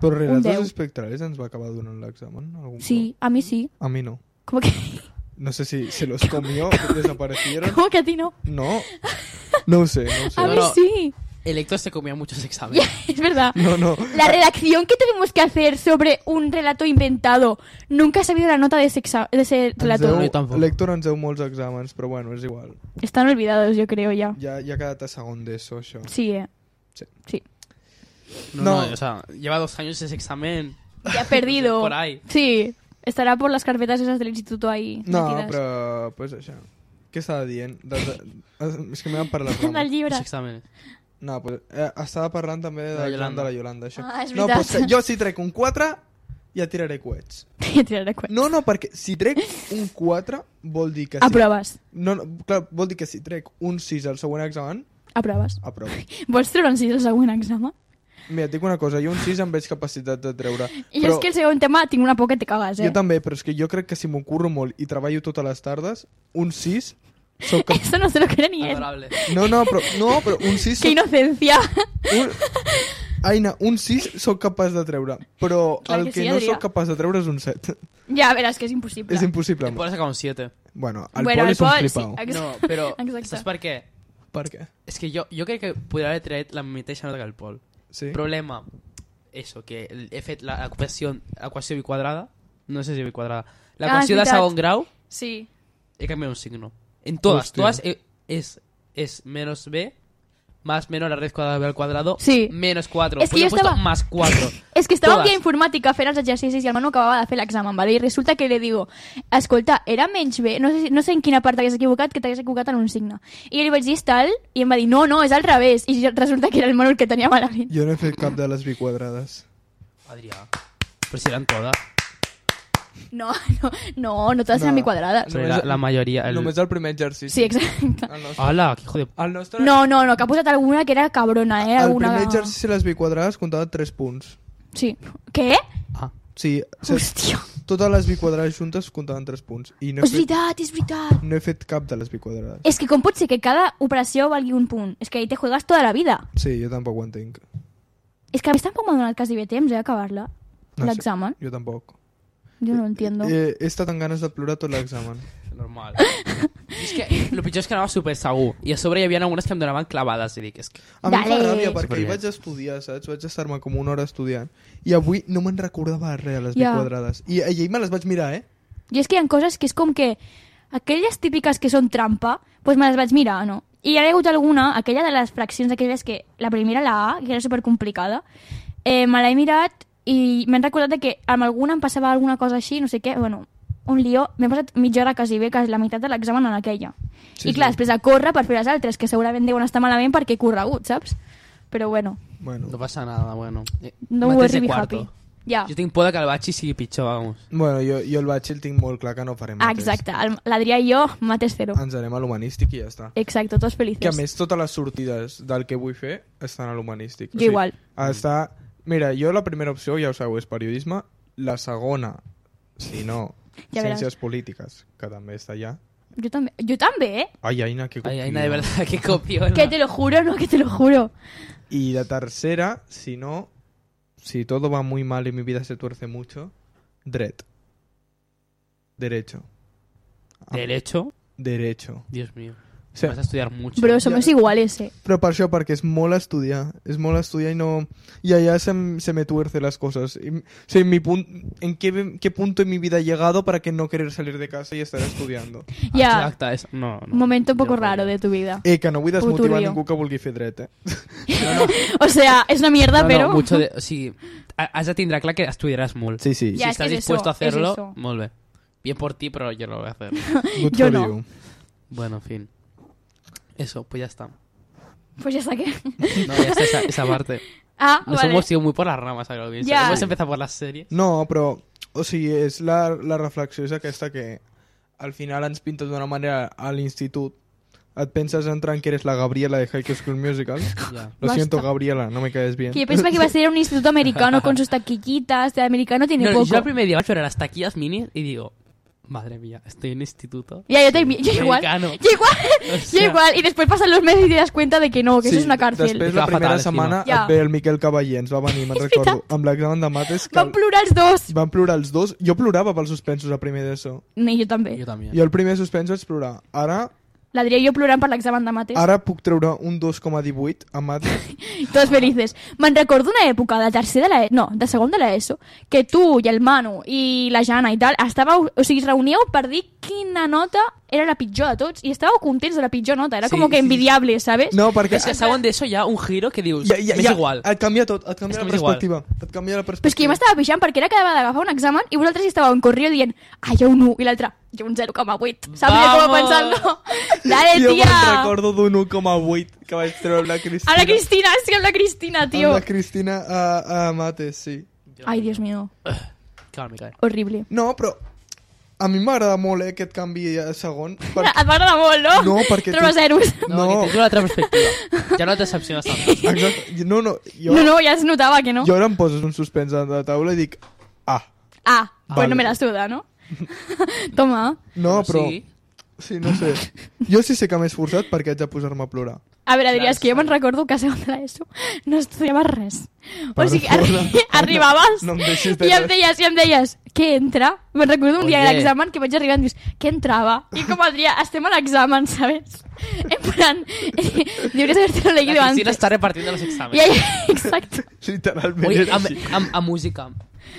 S4: Però Relatos
S3: deu.
S4: Espectrales ens va acabar donant l'examen algun
S3: Sí, a mi sí.
S4: cop. A mi no.
S3: Com que,
S4: No sé si se los comió, desaparecieron.
S3: com que a ti no?
S4: No. No ho sé, no ho sé.
S3: A mí
S2: no.
S3: sí.
S2: El Héctor se comía muchos exámenes.
S3: Es verdad.
S4: No, no.
S3: La redacción que tuvimos que hacer sobre un relato inventado. Nunca he sabido la nota de ese, exa- de ese
S4: Ens
S3: relato.
S4: deu,
S2: No, jo tampoc.
S4: Lector ens deu molts exàmens, però bueno, és igual.
S3: Están olvidados, yo creo, ya.
S4: Ja, ja ha quedat a segon d'ESO, això.
S3: Sí, eh.
S4: Sí.
S2: No,
S4: No.
S2: no, o sea, lleva dos años ese examen.
S3: Ya perdido.
S2: Por ahí.
S3: Sí. Estará por las carpetas esas del instituto ahí.
S4: No,
S3: metidas.
S4: però... Pues això. Què estava dient? De, de, és que m'he parlat.
S3: Del llibre.
S2: Los exámenes.
S4: No, pues, eh, estava parlant també de
S2: La
S4: l'examen
S2: Yolanda.
S4: de la Yolanda, això.
S3: Ah, és
S4: no,
S3: veritat.
S4: pues, que jo si trec un 4, ja tiraré coets.
S3: Ja tiraré cuenta.
S4: No, no, perquè si trec un 4 vol dir que sí.
S3: Ah, Aproves.
S4: No, no, clar, vol dir que si trec un 6 al següent examen,
S3: Aproves.
S4: aprovo.
S3: Vols treure un 6 al següent examen?
S4: Mira, et dic una cosa, jo un 6 em veig capacitat de treure.
S3: I és que el segon tema tinc una por que te cagas, eh?
S4: Jo també, però és que jo crec que si m'ho curro molt i treballo totes les tardes, un 6 soc... cap-
S3: Eso no se lo cree ni él.
S2: Adorable.
S4: No, no, però, no, però un 6...
S3: ¡Qué inocencia!
S4: Un... Aina, un 6 sóc capaç de treure, però
S3: Clar
S4: el
S3: que
S4: que,
S3: sí,
S4: no
S3: Adrià.
S4: sóc capaç de treure és un 7.
S3: ja, verás que és impossible.
S4: És impossible.
S2: El Pol ha sacado un 7.
S4: Bueno, el
S3: Bueno,
S4: Pol
S3: el
S4: és un
S3: Pol,
S4: flipau.
S3: sí, ex-
S2: No, pero.
S3: Exacte.
S2: ¿Sabes por qué?
S4: Per què?
S2: Es que yo, yo creo que podría haber traído la mitad nota que el Pol.
S4: Sí.
S2: Problema. Eso, que el F, la ecuación, la ecuación bicuadrada. No sé si bicuadrada. La
S3: Ah,
S2: ecuación de
S3: és veritat.
S2: Sagon Grau.
S3: Sí.
S2: He cambiado un signo. En todas,
S4: Hostia.
S2: todas eh, es, es menos b más menos la raíz cuadrada al cuadrado,
S3: Sí.
S2: menos 4.
S3: És que
S2: pues
S3: jo
S2: he puesto
S3: estava-
S2: más 4.
S3: És que estava un dia
S2: Todas.
S3: a informàtica fent els exercicis i el Manu acabava de fer l'examen, ¿vale? i resulta que li digo, escolta, era menys bé, no sé, si- no sé en quina part t'hagués equivocat, que t'hagués equivocat en un signe. I jo li vaig dir, és tal, i em va dir, no, no, és al revés, i resulta que era el Manu el que tenia malament.
S4: Jo no he fet cap de les biquadrades.
S2: Adrià, pero si eran todas.
S3: No, no, no, no totes eren
S4: No.
S3: biquadrades.
S2: Sobre la, la mayoría. El...
S4: Només el primer exercici.
S3: Sí, exacte.
S4: El nostre...
S2: Hola, qué hijo de...
S4: El nostre...
S3: No, no, no, que ha posat alguna que era cabrona, eh?
S4: El
S3: Alguna...
S4: primer exercici les biquadrades comptava 3 punts.
S3: Sí. Què?
S2: Ah,
S4: Sí, set...
S3: Hòstia.
S4: totes les biquadrades juntes comptaven 3 punts. I no he,
S3: És
S4: fet,
S3: veritat, és veritat.
S4: no he fet cap de les biquadrades.
S3: És que com pot ser que cada operació valgui un punt? És que ahí te juegas tota la vida.
S4: Sí, jo tampoc ho entenc.
S3: És que a més tampoc m'ha donat quasi bé temps, eh, acabar-la.
S4: No sé.
S3: L'examen.
S4: Jo tampoc.
S3: Jo no ho entiendo.
S4: Eh, he estat amb ganes de plorar tot l'examen.
S2: normal. es que lo pitjor es que anava súper segur. Y a sobre hi havia algunes que em donaven clavades. I dic, és que...
S4: A mi em fa
S3: Dale.
S4: ràbia perquè
S2: Superbé.
S4: hi vaig estudiar, saps? Vaig estar-me com una hora estudiant. I avui no me'n recordava res de les
S3: Ja.
S4: biquadrades. I ahir me les vaig mirar, eh?
S3: I és que hi ha coses que és com que... Aquelles típiques que són trampa, doncs me les vaig mirar, no? I hi ha hagut alguna, aquella de les fraccions, aquelles que... La primera, la A, que era supercomplicada, eh, me l'he mirat i m'he recordat de que amb alguna em passava alguna cosa així, no sé què, bueno, un lió. M'he passat mitja hora quasi bé, que és la meitat de l'examen en aquella.
S4: Sí,
S3: Sí, I clar,
S4: sí.
S3: sí. després a córrer per fer les altres, que segurament deuen estar malament perquè he corregut, saps? Però bueno,
S4: Bueno,
S2: No pasa nada, bueno. Eh,
S3: no ho
S2: mates de
S3: arribi
S2: cuarto.
S3: happy. Ja,
S2: Jo tinc por de que el batxi sigui pitjor, vamos.
S4: bueno jo, jo el batxi el tinc molt clar que no farem
S3: ah,
S4: mateix.
S3: exacte, el- l'Adrià i jo, mates zero.
S2: Ah.
S4: Ens anem a l'humanístic i ja està.
S3: Exacte, tots felices.
S4: Que a més totes les sortides del que vull fer estan a l'humanístic.
S3: Jo igual.
S4: Està... Mira, jo la primera opció, ja ho sabeu, és periodisme. La segona, si no,
S3: Ja veràs.
S4: ciències polítiques, que també està allà.
S3: Yo también. Yo también. ¿eh?
S4: Ai, Aina, que
S2: Ay,
S4: copia.
S2: ay, de verdad, que copió.
S3: Que te lo juro, no, que te lo juro.
S4: Y la tercera, si no, si todo va muy mal y mi vida se tuerce mucho, dread. Derecho. Ah,
S2: Derecho,
S4: Derecho.
S2: Dios mío.
S4: O sea,
S2: Vas a estudiar mucho.
S3: Bro, somos iguales, eh.
S4: Però per això, perquè es mola estudiar. Es mola estudiar y no... Y allá se, m- se me tuerce las cosas. Y m- o sea, en, mi pun- ¿en qué, qué punto en mi vida he llegado para que no querer salir de casa y estar estudiando?
S2: Ah,
S3: Ya.
S2: Exacta, es... No, no.
S3: Un momento un poco
S2: Yo no
S3: raro
S2: podía.
S3: de tu vida.
S4: Eh, que no vull desmotivar
S3: Puturio.
S4: ningú que vulgui fer dret, eh?
S3: O sea, es una mierda,
S2: No,
S3: pero.
S2: no, mucho de... O sigui, ha- has de tindre clar que estudiaràs molt.
S4: Sí, sí.
S2: si
S3: Ya, es que
S2: estás
S3: es
S2: dispuesto
S3: eso,
S2: a hacerlo,
S3: es eso.
S2: molt bé. Bien por ti, pero yo no lo voy a hacer.
S4: Good
S3: yo
S4: for
S3: no.
S4: you.
S2: bueno, en fin. Eso, pues ya está.
S3: Pues ya saqué.
S2: No, ya está esa, esa parte.
S3: Ah,
S2: Nos
S3: vale.
S2: hemos ido muy por las ramas, algo bien.
S3: Ya.
S2: Hemos empezado por las series.
S4: No, però, o sigui, és la, la reflexió és aquesta que al final ens pinta d'una manera a l'institut. Et penses entrar en que eres la Gabriela de High School Musical?
S2: Ya.
S4: Lo
S3: Basta.
S4: siento, Gabriela, no me caes bien.
S3: Que yo pensaba que iba a ser un instituto americano con sus taquillitas. De americano tiene
S2: No,
S3: poco.
S2: yo al primer día pero a las taquillas mini y digo, madre mía, estoy en instituto.
S3: Ya, yo también. Yo igual.
S2: Americano.
S3: Yo igual.
S2: O sea-
S3: Yo igual. Y después pasan los meses y te das cuenta de que no, que eso es una cárcel.
S4: Després,
S2: Estava
S4: la primera
S2: fatal,
S4: setmana,
S3: encima. Ja.
S4: et ve el Miquel Cavaller, ens va venir, me'n recordo, amb l'examen de mates, que
S3: Van plural dos.
S4: van plorar els dos. Jo plorava pels suspensos a primer d'ESO.
S3: Ni yo también.
S2: Yo también.
S4: Jo el primer suspenso vaig plorar. Ara,
S3: La diría yo plural para el examen de mates.
S4: ara puc treure un 2,18 a mates.
S3: Tots felices. Me'n recordo una època de tercer de la... E, No, de segon de l'ESO, que tu i el Manu i la Jana i tal, estàveu... O sigui, es reuníeu per dir quina nota era la pitjor de tots i estàveu contents de la pitjor nota. Era
S2: Sí,
S3: sí, com que
S2: sí.
S3: envidiable, ¿sabes?
S4: No, perquè...
S2: Es que saben de eso ya un giro que digo,
S4: Ja, ja,
S2: me
S4: ja,
S2: es igual.
S4: Et canvia Ah, tot, et canvia
S2: És que
S4: la
S2: m'és igual.
S4: perspectiva. Et canvia la perspectiva.
S3: Però és que jo m'estava pixant perquè era cada vegada d'agafar un examen i vosaltres estàveu en correu dient ah, jo un 1 i l'altre, jo un 0,8. Saps com
S2: Vamos!
S3: pensant-lo? Dale,
S4: Jo
S3: tia!
S4: me'n recordo d'un 1,8 que vaig treure amb la Cristina.
S3: A la Cristina, és que amb la Cristina, tio.
S4: Amb la Cristina a, a Mates, sí.
S3: Ai, Dios mío,
S2: Claro, me cae.
S3: horrible.
S4: No, però a mi m'agrada molt eh, que et canvi a segon.
S3: Per...
S4: Perquè...
S3: Et va agradar molt, no?
S4: No, perquè
S3: Troba
S4: tu-
S3: zeros.
S2: No,
S4: No.
S2: que te digo la otra perspectiva. Ya no te decepcionas tanto.
S4: Exacte. No, no, jo,
S3: No, no, ja es notava que no.
S4: jo ara em poses un suspens a la taula i dic... Ah,
S3: Ah, pues
S4: Vale.
S3: no me la suda, ¿no? Toma.
S4: no, però...
S2: Sí.
S4: Sí, no sé. Jo sí sé que m'he esforçat perquè haig de posar-me a plorar.
S3: A veure, diries que jo me'n recordo que a segon de l'ESO no estudiava res. O sigui, arri
S4: Perdona.
S3: arribaves
S4: No em deixis de
S3: i em
S4: res.
S3: deies, i em deies, què entra? Me'n recordo un dia
S2: Oye.
S3: de l'examen que vaig arribar i em dius, què entrava? I com el dia, estem a l'examen, ¿sabes? En plan, deberías haberte leído
S2: La Cristina
S3: antes.
S2: está repartiendo los
S3: I
S2: exámenes.
S3: ella, exacte.
S4: Literalment
S2: Oye,
S4: era
S2: a,
S4: així.
S2: a- a música.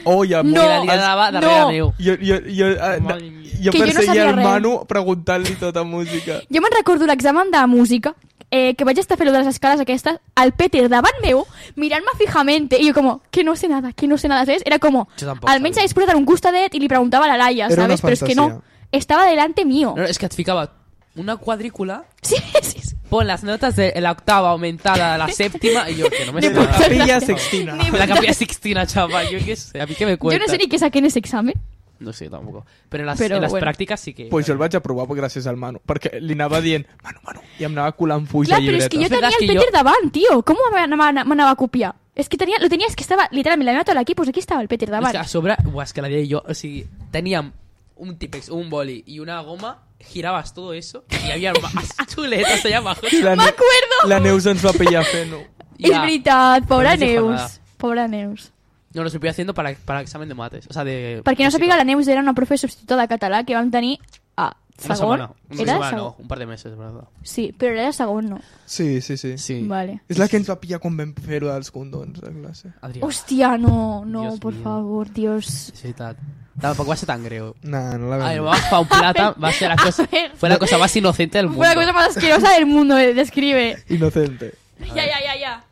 S4: Oh, ja,
S3: No,
S4: molt.
S2: la Liga daba de
S3: no.
S2: Real Neu.
S4: Jo, jo, jo, eh, na-
S2: Madre mía.
S4: jo
S3: Que jo no
S4: perseguia
S3: sabia
S4: el
S3: res.
S4: Manu preguntant-li tota música.
S3: Jo me'n recordo l'examen de música, eh, que vaig estar fent lo de les escales aquestes, el Peter davant meu, mirant-me fijamente, i jo com, que no sé nada, que no sé nada, ¿sabes? Era como,
S2: Jo tampoc
S3: almenys
S2: sabia.
S3: hagués posat en un costadet i li preguntava a la Laia,
S4: Era una
S3: ¿sabes? Però és que no, estava delante mío.
S2: No, no, es que et ficaba una cuadrícula,
S3: Sí, sí, sí.
S2: pon las notas de la octava aumentada a la séptima y yo, que no me sé
S4: La
S2: nada.
S4: capilla sextina.
S3: Ni-
S2: La capilla Sixtina, chaval, yo qué sé. A mí qué me
S3: Jo
S2: cuenta.
S3: no sé ni què saqué en ese examen.
S2: No sé tampoco. Pero en las,
S3: Pero
S2: en las
S3: bueno.
S2: prácticas sí que...
S4: Pues jo el vaig aprovar gràcies al Manu, perquè li anava dient, Manu, Manu, i em anava colant fulls
S3: Clar,
S4: de
S3: però
S4: llibretes.
S3: és que jo
S2: És veritat
S3: tenia el
S2: que
S3: Peter
S2: jo-
S3: davant, tio. Com m'anava a copiar? És que tenia, lo tenia, és que estava literalment la meva taula aquí, pues aquí estava el Peter
S2: Es
S3: davant.
S2: que a sobre... Buah, es que la idea yo... O sea, tenían un típex, un boli y una goma, girabas todo eso y había más chuletas allá abajo.
S4: La, Neu-
S3: M'acuerdo!
S4: la Neus ens va pillar fent-ho.
S2: Ya.
S3: És veritat, pobra
S2: Però no dijo
S3: Neus.
S2: nada.
S3: Pobra Neus.
S2: No, lo estoy haciendo para, para examen de mates. O sea, de...
S3: Perquè no
S2: física.
S3: sàpiga, la Neus era una profe substituta de català que vam tenir a
S2: Una
S3: segon.
S2: semana. Una
S3: era
S2: semana, no.
S3: segon.
S2: Un par de meses, ¿verdad?
S3: Sí, però era segon, no.
S4: Sí, sí, sí.
S2: Sí.
S3: Vale.
S4: És la que ens va pillar quan vam fer-ho dels condons a classe.
S2: Adrià.
S3: Hòstia, no, no,
S2: Dios
S3: por
S2: mío.
S3: favor, Dios.
S2: És veritat. Tampoc va ser tan greu.
S4: Nah, no la
S2: A ver,
S4: vam.
S2: vamos pa' un plata, va a ser la cosa,
S3: A ver.
S2: fue la cosa más inocente del mundo.
S3: Fue la cosa más asquerosa del mundo, eh, describe.
S4: Inocente.
S3: Ya, ya, ya, ya.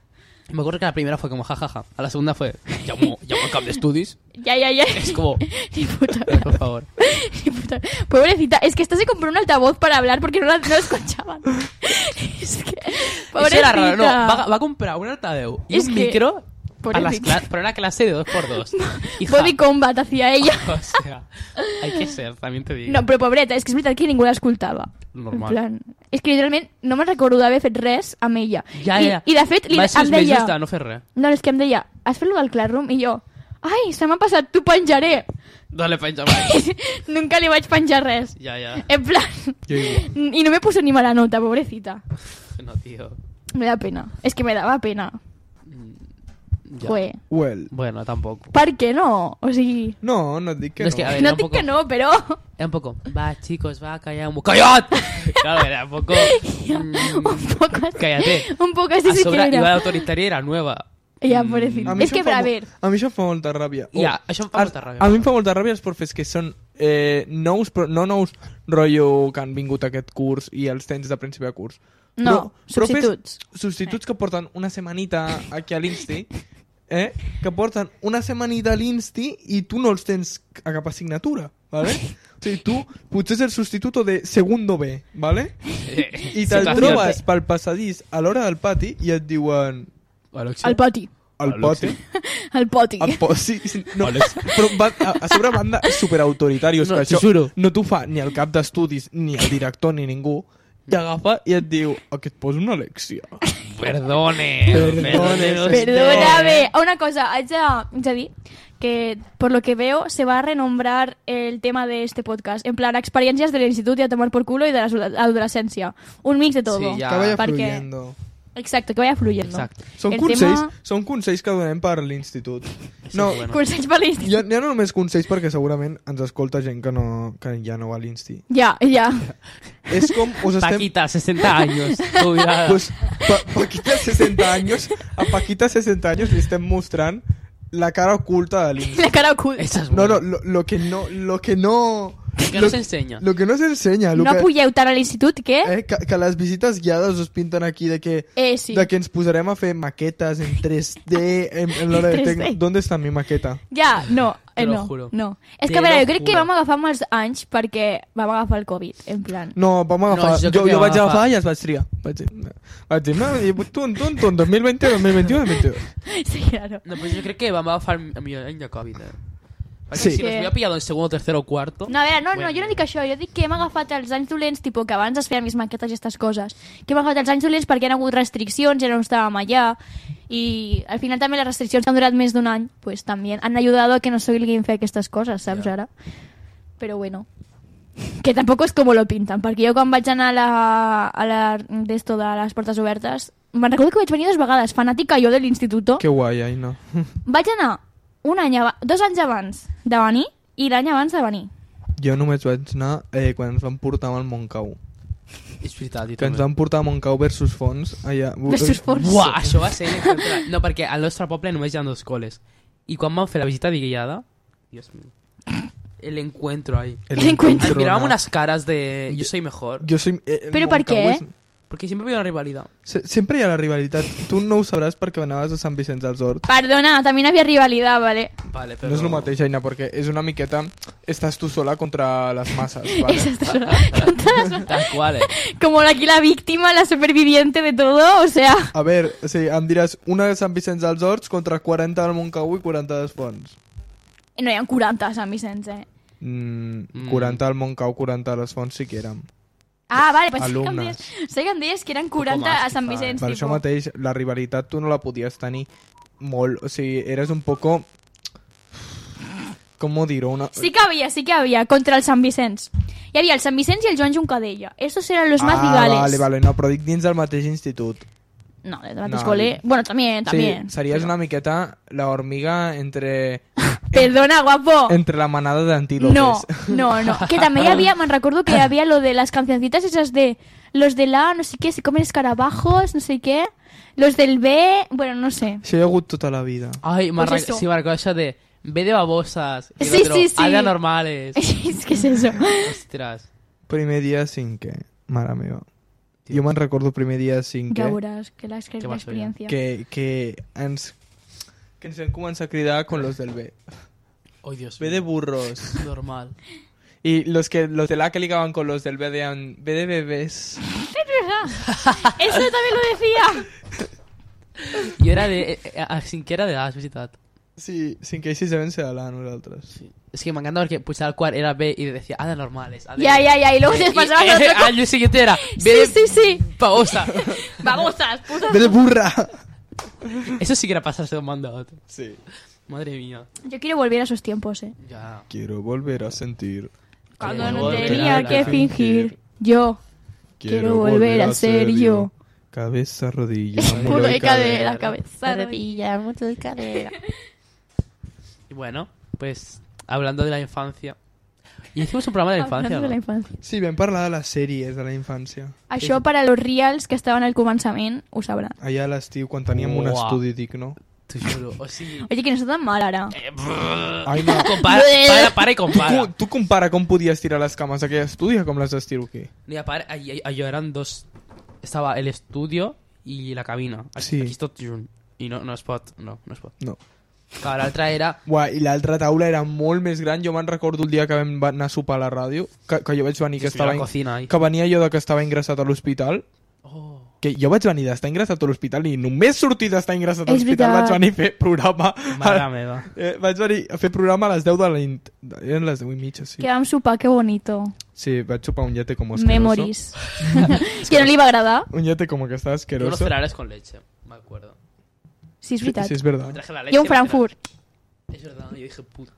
S2: Me acuerdo que la primera fue como jajaja, a la segunda fue llamó, llamó al Camp de Studies,
S3: Ya, ya, ya.
S2: es como,
S3: Ni puta.
S2: por favor.
S3: Ni puta. Pobrecita, es que esta se compró un altavoz para hablar porque no la no la escuchaban. es que.
S2: Eso
S3: Pobrecita.
S2: era raro, no, va, va a comprar un altadeu y
S3: Es
S2: un
S3: que-
S2: micro para, las
S3: Pobrecita.
S2: cla- para una clase de 2x2. Hija,
S3: Body combat hacia ella.
S2: o sea, hay que ser, también te digo.
S3: No, però pobreta, és que és veritat que ningú l'escoltava.
S2: Normal.
S3: En plan, és que literalment no me'n recordo d'haver fet res amb ella. I, I de fet, li,
S2: va ser
S3: em deia...
S2: justa, no fer res.
S3: No, és que em deia, has fet lo del Classroom? I jo, ai, se m'ha passat, t'ho penjaré.
S2: Dale, penja, va.
S3: Nunca li vaig penjar res.
S2: Ya, ya.
S3: En plan... I no me puse ni mala nota, pobrecita.
S2: No, tío. Mm,
S3: Me da pena. És que me dava pena.
S2: Ya.
S3: Jue.
S4: Well.
S2: Bueno, tampoco.
S3: Per què no? O sigui...
S4: No, no et dic que
S2: No,
S4: no.
S2: és que, a ver,
S3: no
S2: era un
S3: et dic
S2: poco-
S3: que no, però...
S2: Era un poco, va chicos, va, calla un poco. ¡Callad! Claro, era un poco. mm,
S3: un poc así.
S2: Cállate.
S3: Un poc
S2: a
S3: así sí que
S2: sobre iba Mm. de
S3: era.
S2: autoritaria, era nueva.
S3: Ja,
S4: A
S3: pobrecita.
S4: mi
S3: És
S4: això
S3: que,
S4: em fa
S3: però, a
S4: mo-
S3: veure...
S4: A mi això em fa molta ràbia. O-
S2: Ja, això em fa
S4: a-
S2: molta ràbia.
S4: A mi em fa molta ràbia els profes que són eh, nous, però no nous, rotllo que han vingut aquest curs i els tens de principi de curs.
S3: No, substituts.
S4: Profes, substituts que porten una setmanita aquí a l'Insti, eh? que porten una setmanita a l'Insti i tu no els tens a cap assignatura, ¿vale? O sigui, tu potser és el substituto de segundo B, ¿vale? I te'l
S2: Situació.
S4: trobes pel passadís a l'hora del pati i et diuen...
S2: Alexia.
S3: El poti.
S4: El
S2: Al
S4: pati?
S3: El poti.
S4: Em Ah, po- sí, sí, no, però va, a, a sobre banda superautoritarios
S2: No,
S4: que
S2: t'ho
S4: això
S2: juro.
S4: no t'ho fa ni el cap d'estudis ni el director ni ningú i agafa i et diu "A que et poso una lecció
S2: Perdone.
S4: Perdone,
S2: usted.
S3: Perdóname. Una cosa, haig de, haig de dir que, por lo que veo, se va a renombrar el tema de este podcast. En plan, experiencias del instituto y a tomar por culo y de la adoles- adolescencia. Un mix de todo.
S2: Sí, ya.
S4: que vaya
S3: perquè-
S4: fluyendo
S3: Exacto, que vaya fluyendo.
S2: Exacto.
S4: són
S3: El
S4: consells,
S3: tema-
S4: són consells que donem per l'institut no,
S2: bueno.
S3: Cursos para el instituto.
S4: ja, ja no només consells perquè segurament ens escolta gent que, no, que ja no va a l'insti
S3: Ya, ya.
S4: és com us estem
S2: Paquita, 60 años. Cuidado.
S4: este- pues, pa Paquita 60 anys a Paquita 60 anys li estem mostrant la cara oculta de l'insti
S3: La cara oculta.
S2: Esa es
S4: No,
S2: buena.
S4: no, lo, lo que no, lo que no...
S2: Que no
S4: lo-
S2: se enseña.
S4: Lo que no se enseña. Lo
S3: No
S4: que,
S3: pugeu tant a l'institut que... Eh,
S4: eh, que, que les visites guiades us pinten aquí de que,
S3: sí.
S4: de que ens posarem a fer maquetes en 3D, en, en l'hora de
S3: 3D.
S4: tec... ¿Dónde està mi maqueta?
S3: Ja, no, eh,
S2: Te lo
S3: no,
S2: juro.
S3: no. És
S2: Te
S3: que, a veure,
S2: lo
S3: jo crec que
S2: juro.
S3: vam agafar molts anys perquè vam agafar el Covid, en plan.
S4: No, vam agafar...
S2: No, jo
S4: jo,
S2: crec
S4: jo,
S2: que vam
S4: vaig agafar,
S2: agafar.
S4: i es vaig triar. Vaig dir, vaig dir, no, i tun, tun, tun, 2020, 2021, 2022.
S3: Sí, claro.
S2: No, pues yo creo que vamos a bajar a mi año COVID. eh. Porque
S4: Sí.
S2: Si nos hubiera pillado en segundo, tercero o cuarto.
S3: No, a veure, no, no,
S2: Bueno.
S3: jo no dic això, jo dic que hem agafat els anys dolents, tipo, que abans es feien més maquetes i aquestes coses, que hem agafat els anys dolents perquè hi ha hagut restriccions, ja no estàvem allà, i al final també les restriccions que han durat més d'un any, pues també han ajudat a que no s'obliguin a fer aquestes coses, saps,
S2: Ja.
S3: ara? Però bueno, que tampoc és com lo pinten, perquè jo quan vaig anar a la, a la d'esto de les portes obertes, me'n recordo que vaig venir dues vegades, fanàtica jo de l'institut,
S4: Que guai, ai, no.
S3: vaig anar un any aba- dos anys abans de venir i l'any abans de venir.
S4: Jo només vaig anar eh, quan ens van portar al Montcau.
S2: Es verdad, tío,
S4: Que ens
S2: també.
S4: van portar a Montcau versus Fons. Allà.
S3: Versus Fons.
S2: Buah, això va ser... contra- No, perquè al nostre poble només hi ha dos coles. I quan vam fer la visita guiada... Dios mío. El encuentro ahí.
S4: El
S3: L'encuentro.
S2: Ens
S4: encuentro,
S2: miràvem
S4: no.
S2: unes cares de... Jo soy mejor.
S4: Yo soy... eh, el
S3: Però per què?
S4: Montcau és-
S2: Perquè sempre hi ha una rivalidad.
S4: Se sempre hi ha la rivalitat. Tu no ho sabràs perquè anaves a Sant Vicenç dels Horts.
S3: Perdona, también había rivalidad, ¿vale?
S2: Vale,
S4: No és el mateix, Aina, perquè és una miqueta... Estàs tu sola contra les masses,
S3: Esa
S4: vale?
S3: es la- contadas-
S2: Tal cual, eh.
S3: Como aquí la víctima, la superviviente de todo, o sea...
S4: A veure, sí, em diràs una de Sant Vicenç dels Horts contra 40 del Montcau i 40 dels Fonts.
S3: No hi ha 40 a Sant Vicenç, eh?
S4: Mm,
S2: Mm.
S4: 40 al Montcau, 40 a les Fonts sí que érem.
S3: Ah, vale, pues
S4: Alumnes.
S3: sí que em deies, sí que em deies que eren 40
S2: más,
S3: a Sant
S2: quizá.
S3: Vicenç,
S4: Per
S3: tipo.
S4: això mateix, la rivalitat tu no la podies tenir molt. O sigui, eres un poco... Com ho dir-ho? Una...
S3: Sí que había, sí que había, contra el Sant Vicenç. Hi havia el Sant Vicenç i el Joan Juncadella. Estos eran los más rivales.
S4: Ah, vale, vale, no, però dic dins del mateix institut.
S3: No, del mateix
S4: No,
S3: col·le.
S4: dic-
S3: Bueno, también, también.
S4: Sí, series una miqueta la hormiga entre,
S3: Perdona, guapo.
S4: entre la manada d'antílopes.
S3: No, no, no. Que también había, me recuerdo que había lo de las cancioncitas esas de los de la, no sé qué, se comen escarabajos, no sé qué. Los del B, bueno, no sé.
S4: Això hi ha hagut tota la vida.
S2: Ay, me
S3: Pues
S2: arranca-
S3: eso.
S2: sí, me arrancó eso de... Ve de babosas. Y el
S3: Sí,
S2: otro,
S3: sí, sí.
S2: "Haz de anormales.
S3: es que es eso.
S2: Ostras.
S4: Primer dia cinquè, mare meva. Jo me'n recordo primer dia
S3: Ja
S4: cinquè
S3: veuràs que la, que
S2: Què
S3: la
S2: vas fer?
S3: experiència.
S4: que, que ens que ens vam començar a cridar con los del B.
S2: Oh, Dios
S4: B
S2: mío.
S4: de burros.
S2: Normal.
S4: Y los que los del A que ligaban con los del B de, an- B de bebés.
S3: Ah, Eso también lo decía.
S2: Yo era de... eh, eh, ah, sin que era de las visitas.
S4: Sí, sin que així se vence a l'A nosaltres.
S2: Es que me encanta porque pues al cual era B y decía, haz de anormales. haz de-".
S3: Ya, ya, ya. Y luego
S2: Eh,
S3: te
S2: y-
S3: pasabas a otro.
S2: Al día siguiente era
S3: co-
S2: B
S3: Sí,
S2: de
S3: sí, sí.
S2: babosa.
S3: Babosas, putas.
S4: B de burra!
S2: Eso sí que era pasarse de un mando a otro.
S4: Sí.
S2: Madre mía.
S3: Yo quiero volver a esos tiempos, eh.
S2: Ya.
S4: Quiero volver a sentir.
S3: Cuando
S2: Quiero
S3: no
S2: volver
S3: tenía
S2: a
S3: que
S2: fingir.
S3: fingir. Yo. Quiero volver a ser yo.
S4: Cabeza, rodilla,
S3: Puto
S4: hombro
S3: de
S4: y
S3: cadera,
S4: cadera.
S3: cabeza, rodilla.
S2: Y bueno, pues hablando de la infancia. Y hicimos un programa de la infancia.
S3: Hablando
S2: ¿no?
S3: de la infancia.
S4: Sí, vam parlar de les sèries de la infància.
S3: Això per a los reals que estaven al començament ho sabran.
S4: Allà a l'estiu, quan teníem un
S2: Uah.
S4: estudi digno.
S2: Te juro. O sí.
S3: Oye, que no està tan mal ara.
S2: Eh,
S4: Ai, no.
S2: Compara, para, para y compara.
S4: tu, tu compara com podies tirar les cames a aquell estudi a com les estiro aquí.
S2: Mira, para, ahí- ahí- ahí eran dos. Estaba el estudio y la cabina. Aquí,
S4: Sí.
S2: aquí está Jun. Y no, no spot. No, no spot.
S4: No.
S2: Claro, la otra era.
S4: Ua, i l'altra taula era molt més gran. Jo me'n recordo el dia que vam va- anar a sopar a la ràdio, que, que jo vaig venir que,
S2: Estuviera
S4: estava...
S2: la
S4: in-
S2: cocina ahí.
S4: Que venia jo de que estava ingressat a l'hospital.
S2: Oh.
S4: Que jo vaig venir d'estar ingressat a l'hospital i només sortir d'estar ingressat a
S3: És
S4: l'hospital
S3: veritat.
S4: vaig venir a fer programa.
S2: Mare meva.
S4: Eh, vaig venir a fer programa a les 10 de la nit. Eren les 10 i mitja, sí.
S3: Que vam sopar, que bonito.
S4: Sí, vaig xupar un llate com asqueroso.
S3: Memories. que no li va agradar.
S4: Un llate como que está
S2: Yo unos
S4: asqueroso.
S2: cereales con leche, me acuerdo.
S3: Sí, és veritat.
S4: Sí, es
S2: Me
S4: verdad.
S2: traje la leche.
S3: Jo
S2: me
S3: un
S2: traje-
S3: Frankfurt.
S2: Es verdad, yo dije puta.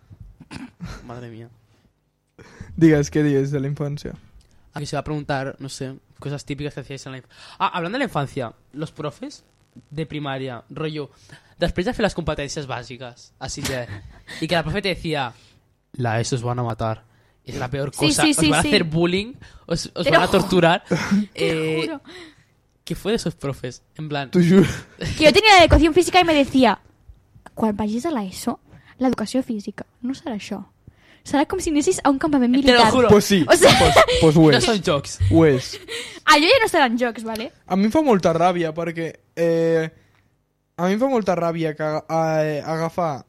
S2: Madre mía.
S4: Digas, ¿qué dices de la infancia?
S2: Aquí se va a preguntar, no sé, cosas típicas que hacíais en la infancia. Ah, hablando de la infancia, los profes de primaria, rollo, después de hacer las competencias básicas, así de... Y que la profe te decía, la ESO os van a matar. Es la peor
S3: Sí,
S2: cosa.
S3: sí,
S2: os
S3: sí,
S2: van
S3: sí.
S2: a hacer bullying, os, os
S3: Te
S2: van
S3: lo
S2: a torturar.
S3: Te
S2: Eh,
S3: juro.
S2: ¿Qué fue de esos profes? En plan,
S4: Tu juro.
S3: Que jo tenia la educació física i me decía quan vagis a l'ESO, l'educació física no serà això. Serà com si anessis a un campament
S2: Te lo
S3: militar.
S2: juro.
S4: Pues sí,
S3: O sea-
S4: pues, pues ho
S2: no
S4: és.
S2: son jokes.
S4: Ho és.
S3: Allò ja no seran jocs, vale?
S4: A mi em fa molta ràbia perquè... Eh, a mi em fa molta ràbia que aga- eh, agafar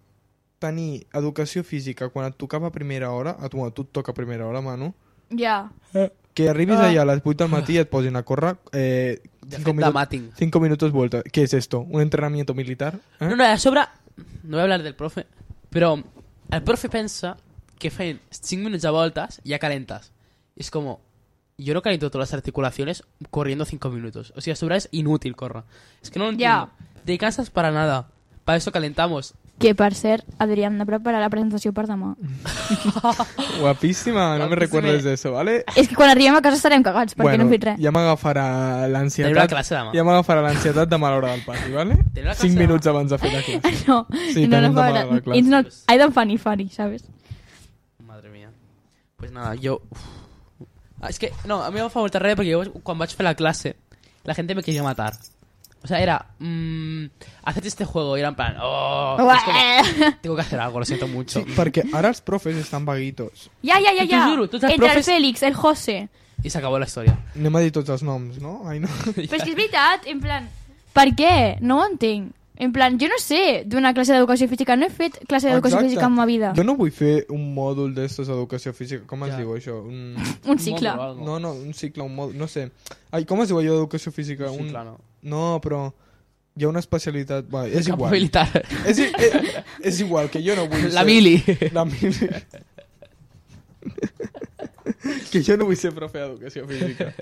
S4: tenir educació física quan et tocava a primera hora, a tu, a tu et toca a primera hora, Manu,
S3: Ja.
S4: que arribis
S3: Ah.
S4: allà a les 8 del matí i et posin a córrer eh,
S2: De
S4: 5
S2: fet, de mating.
S4: minutos vuelta. ¿Qué es esto? ¿Un entrenamiento militar? Eh?
S2: No, no, a sobre... No voy a hablar del profe, però el profe pensa que feien 5 minuts de voltes ja calentes. I és com... Yo no caliento todas las articulaciones corriendo 5 minutos. O sea, sobre es inútil, corra. Es que no lo entiendo.
S3: Ya.
S2: Te cansas para nada. Para eso calentamos.
S3: Que, per cert, hauríem de preparar la presentació per demà.
S4: Guapísima, no me
S2: Guapísima.
S4: recuerdes de eso, ¿vale?
S3: És que quan arribem a casa estarem cagats, perquè no hem fet res.
S4: ja m'agafarà l'ansietat.
S2: Tenim la classe demà.
S4: Ja m'agafarà l'ansietat demà a l'hora del pati, ¿vale?
S2: Tenim la classe
S4: 5
S2: demà.
S4: minuts abans de fer la classe.
S3: No,
S4: Sí,
S3: no,
S4: tenim
S3: no
S4: demà
S3: fa
S4: la classe.
S3: It's not, I don't funny funny, ¿sabes?
S2: Madre mía. Pues nada, yo... uf. Ah, es que, no, a mí me fa molta ràbia perquè jo, quan vaig fer la clase, la gente me quería matar. O sea, era... mm, haced este juego. Y era en plan... Oh, es como, tengo que hacer algo, lo siento mucho.
S4: Sí, perquè ara els profes estan vaguitos.
S3: Ya, ya, ya,
S2: Te
S3: ya.
S2: juro, tots els
S3: Entre el
S2: profes-
S3: Félix, el José,
S2: I s'acabó la història.
S4: Anem a dir tots els noms, no? Ai, no.
S3: Però és que és veritat, en plan... Per què? No ho entenc. En plan, jo no sé d'una classe d'educació física. No he fet classe
S2: Ah,
S3: d'educació
S4: Exacte.
S3: física en ma vida.
S4: Jo no vull fer un mòdul d'estos d'educació física. Com es
S2: Ja.
S4: diu això? Un...
S3: Un cicle.
S2: Molt o algo.
S4: No, no, un cicle, un mòdul, no sé. Ai, com es diu allò d'educació física?
S2: Un
S4: un...
S2: cicle, no.
S4: No, però hi ha una especialitat... Va, és
S2: Campo
S4: igual.
S2: militar.
S4: És, i- eh, és igual, que jo no vull
S2: La
S4: ser...
S2: mili.
S4: La mili. que jo no vull ser profe d'educació física.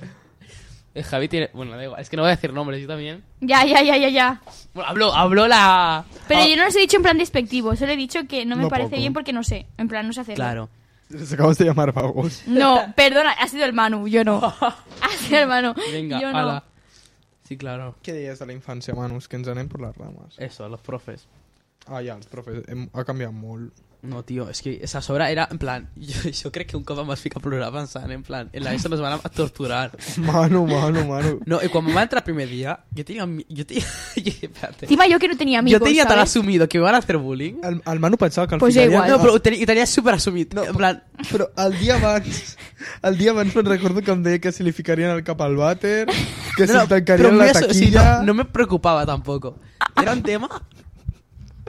S2: El Javi tiene... Bueno, da igual. Es que no voy a decir nombres, yo también.
S3: Ya, ya, ya, ya, ya.
S2: Bueno, habló, habló la...
S3: Pero
S2: Ah,
S3: yo no los he dicho en plan despectivo, solo he dicho que no me
S4: No
S3: parece
S4: poco.
S3: bien porque no sé. En plan, no sé hacerlo.
S2: Claro.
S4: Les acabes de llamar vagos.
S3: No, perdona, ha sido el Manu, yo no. Ha sido el Manu.
S2: Venga,
S3: yo no.
S2: ala. Sí, claro.
S4: Què deies de la infància, Manus? Que ens anem per les rames.
S2: Eso, los profes.
S4: Ah, ja, els profes. Hem, ha canviat molt.
S2: No, tío, es que esa sobra era, en plan, yo, yo creo que un cop más fica plural avanzar, en plan, en la ESO nos van a torturar.
S4: Mano, mano, mano.
S2: No, y cuando me entra el primer día, yo tenía, mi- yo tenía, espérate.
S3: Encima yo que no tenía amigos,
S2: yo tenía tan
S3: ¿sabes?
S2: asumido que me van a hacer bullying.
S4: El, el Manu pensava que al
S3: Pues jo
S4: final...
S3: igual.
S4: Ja...
S2: No, pero tenía, tenía súper asumido, en plan,
S4: Però el dia abans, el dia abans me'n recordo que em deia que si li ficarien el cap al vàter,
S2: No, no,
S4: que no,
S2: pero
S4: se'm tancarien
S2: muy
S4: la
S2: aso- sí,
S4: taquilla...
S2: no, no me preocupaba tampoco. Era un tema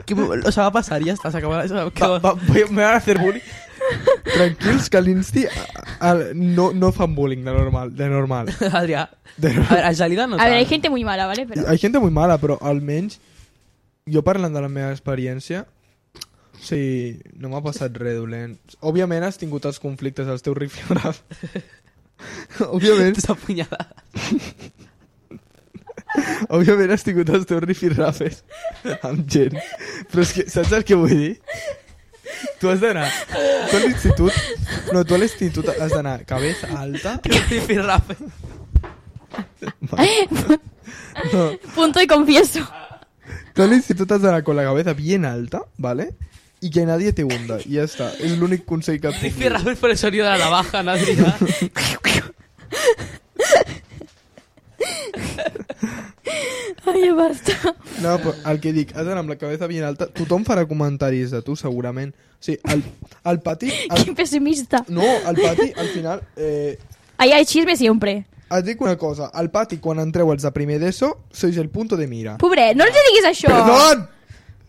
S2: que, o sea, va a pasar y ya está, se acabó. se acabó.
S4: Va, va, voy- me van a hacer bullying. Tranquils, que a l'insti a- a- no, no fan bullying de normal. De normal.
S2: Adrián,
S4: De
S2: a ver, en realidad no
S3: A ver, hay
S2: tanto.
S3: gente muy mala, ¿vale? Pero...
S4: Hi ha gent molt mala, però almenys jo parlant de la meva experiència sí, no m'ha passat res dolent. Òbviament has tingut els conflictes dels teus rifles. òbviament,
S2: Tus apuñaladas.
S4: òbviament has tingut els teus rifirrafes amb gent. Però és que, saps el que vull dir? Tu has d'anar... Tu a l'institut... No, tu a l'institut has d'anar cabeza alta...
S2: Riffy Raff.
S4: No,
S3: Punto y confieso.
S4: Tú al instituto has de la- con la cabeza bien alta, ¿vale? Y que nadie te hunda. Y ya está. Es el único consejo que has
S2: Riffy Raff es por el sonido de la navaja, ¿no, Adrián?
S3: Ay, ya basta.
S4: No, però el que dic, has d'anar amb la cabeza bien alta. Tothom farà comentaris de tu, segurament. O sigui, al, al pati...
S3: Qué
S4: Al,
S3: pesimista.
S4: Ah. no, al pati, al final... Eh,
S3: Ahí hay chisme siempre.
S4: et dic una cosa. Al pati, quan entreu els de primer d'ESO, sois el punto de mira.
S3: Pobre, no le digas a yo.
S4: Perdón!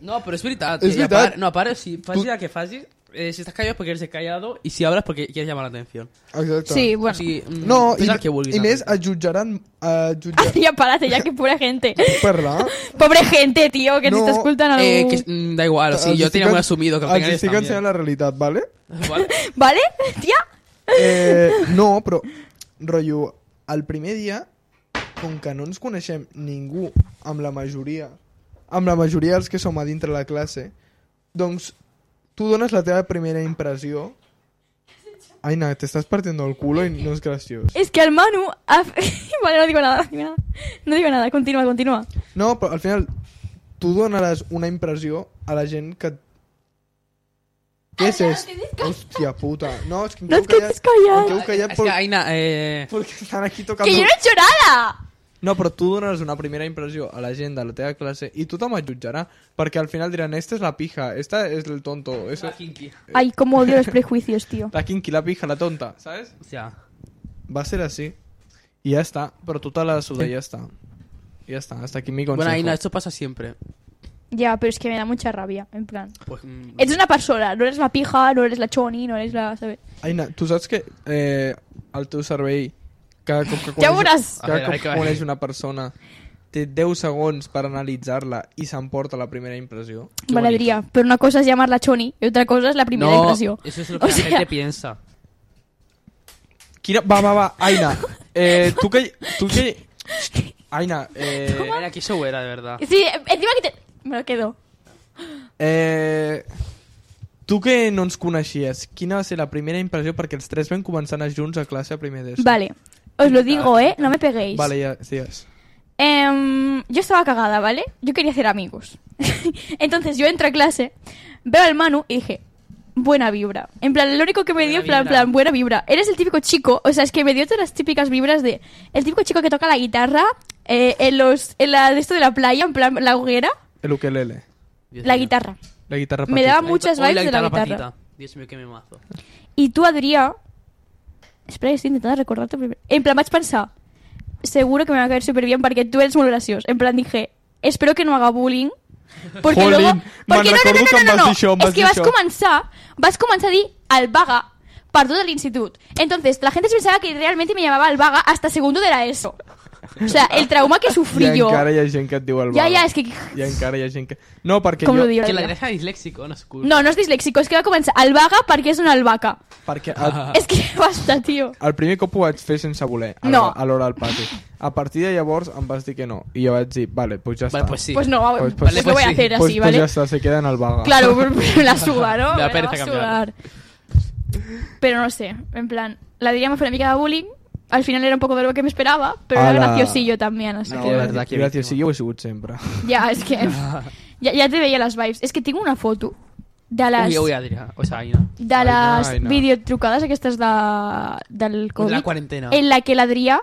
S2: No, pero es verdad.
S4: Es
S2: Y a
S4: verdad.
S2: par- no, aparte, si fácil a que fácil. eh, si estás callado es porque eres callado y si hablas porque quieres llamar la atención.
S4: Exacte.
S3: Sí, bueno.
S2: Así, mm,
S4: No, i,
S2: pensar que vulguis,
S4: i més,
S2: también.
S4: et jutjaran... eh, Et jutjaran...
S3: ya párate, ya que pobre gente.
S4: Parlar?
S3: Pobre gente, tío, que si
S4: No,
S3: te escultan algo.
S2: Eh, que, mm, da igual, sí,
S4: Els
S2: yo tenía
S4: Eh, estic
S2: muy
S4: en-
S2: asumido que lo
S4: Els
S2: tengan
S4: estic ensenyant la realitat, ¿vale?
S2: Vale.
S3: ¿Vale? Tía.
S4: Eh, no, però, rotllo, el primer dia, com que no ens coneixem ningú amb la majoria, amb la majoria dels que som a dintre la classe, doncs tu dones la teva primera impressió Aina, te estás partiendo el culo y no es gracioso.
S3: Es que al Manu. ha- vale, no digo nada, no digo nada. No digo nada, continúa, continúa.
S4: No, però al final tu donaràs una impressió a la gent que... Què és esto? Hòstia puta. No, és que em
S3: No
S4: quedo
S3: et quedes callat.
S4: Em quedo callat
S2: Es que,
S4: por-
S2: Aina, eh,
S4: porque están aquí tocando...
S3: ¡Que yo no he hecho nada!
S4: No, però tu dones una primera impressió a la gent de la teva classe i tothom et jutjarà, perquè al final diran, esta és la pija, esta és el tonto, és
S2: la kinky.
S3: Ay, cómo odio los prejuicios, tío.
S4: la quinqui, la pija, la tonta, saps?
S2: O sea,
S4: Va ser així. I ja està, però tota la suda ja està. Ja està, hasta aquí mi consejo.
S2: bueno, Aina, esto pasa siempre.
S3: Ya, pero es que me da mucha rabia, en plan.
S2: Pues, mm,
S3: Eres una persona, no eres la pija, no eres la choni, no eres la. ¿sabes?
S4: Aina, tu saps que eh, el teu cervell cada cop que coneix,
S3: Ja veuràs.
S4: cada
S2: A veure,
S4: cop
S2: que
S4: que
S2: va-
S4: coneix una persona té 10 segons per analitzar-la i s'emporta la primera impressió?
S3: Maladría. Pero una cosa es llamarla choni y otra cosa es la primera
S2: no,
S3: impresión.
S2: eso es lo que
S3: o
S2: la gente
S3: sea,
S2: piensa.
S4: Quina... Va, va, va, Aina. Eh, tu que... Tu que... Aina, eh...
S2: Aina, que eso era, de verdad.
S3: Sí, encima que te. Me lo quedo.
S4: eh... Tu que no ens coneixies, quina va ser la primera impressió? Perquè els tres vam començar a anar junts a classe a primer d'ESO.
S3: Vale. Os lo digo, ¿eh? No me peguéis.
S4: Vale, ja, sí, és.
S3: Em, yo estaba cagada, ¿vale? Yo quería hacer amigos. Entonces yo entro a clase, veo al Manu y dije, buena vibra. En plan, lo único que me
S2: Buena
S3: dio, en plan,
S2: vibra.
S3: plan, buena vibra. Eres el típico chico, o sea, es que me dio todas las típicas vibras de... El típico chico que toca la guitarra eh, en los... En la de esto de la playa, en plan, la hoguera.
S4: El ukelele.
S2: Dios
S3: La
S2: mío.
S3: guitarra.
S4: La guitarra
S3: Me
S4: petita.
S3: daba muchas
S2: Hoy
S3: vibes de la guitarra.
S2: patita. Dios mío, qué me mazo.
S3: Y tú, Adrià, Espera, estic intentant recordar-te primer. En plan, vaig pensar, seguro que me va a caer súper bien perquè tu eres molt graciós. En plan, dije, espero que no haga bullying. Porque
S4: Jolín,
S3: luego...
S4: me'n
S3: Porque no, no,
S4: recordo
S3: no,
S4: que em
S3: no, no,
S4: vas
S3: no,
S4: dir això, em
S3: Es
S4: vas
S3: que
S4: dir
S3: vas
S4: això.
S3: començar, vas començar a dir el vaga per todo el instituto. Entonces, la gente se pensaba que realmente me llamaba el vaga hasta segundo de la ESO. O sea, el trauma que sufrí
S4: I
S3: yo.
S4: encara hi ha gent que et diu el
S3: Ja,
S4: vago.
S3: ja, és que-
S4: I encara hi ha gent que... No, perquè
S3: Com
S4: jo...
S3: ho diu?
S2: Que la derecha es disléxico, no es culpa.
S3: No, no és disléxico, és que va començar el vaga perquè és una albaca.
S4: Perquè el,
S2: Ah.
S3: És que basta, tio.
S4: el primer cop ho vaig fer sense voler, a
S3: No.
S4: l'hora- a l'hora del pati. A partir de llavors em vas dir que no. I jo vaig dir, vale, pues ja
S2: Vale,
S4: està. Doncs
S2: pues sí.
S3: Pues no, va-
S4: Pues-
S3: pues,
S4: pues-
S3: lo voy
S2: pues
S3: a
S2: sí.
S3: hacer así,
S4: pues, pues
S3: ¿vale?
S4: ya está, se queda en el vaga.
S3: Claro, me la suda, ¿no?
S2: Me da
S3: la
S2: pereza
S3: va a
S2: cambiar.
S3: sudar. Pero no sé, en plan, la diríamos fue una mica de bullying. Al final era un poco de lo que me esperaba, pero
S4: Ala.
S3: era graciosillo también, así
S4: No,
S3: que...
S2: de verdad que
S4: gràcies,
S2: víctima.
S4: sí, jo ho he sigut sempre.
S3: Ya, es que... ya, ya te veía las vibes. Es que tengo una foto de las...
S2: Uy, uy, Adrián. O sea, ahí no.
S3: de
S4: Ai,
S3: les
S4: ai, no.
S3: videotrucades aquestes de, del Covid.
S2: la quarantena.
S3: En la que l'Adrià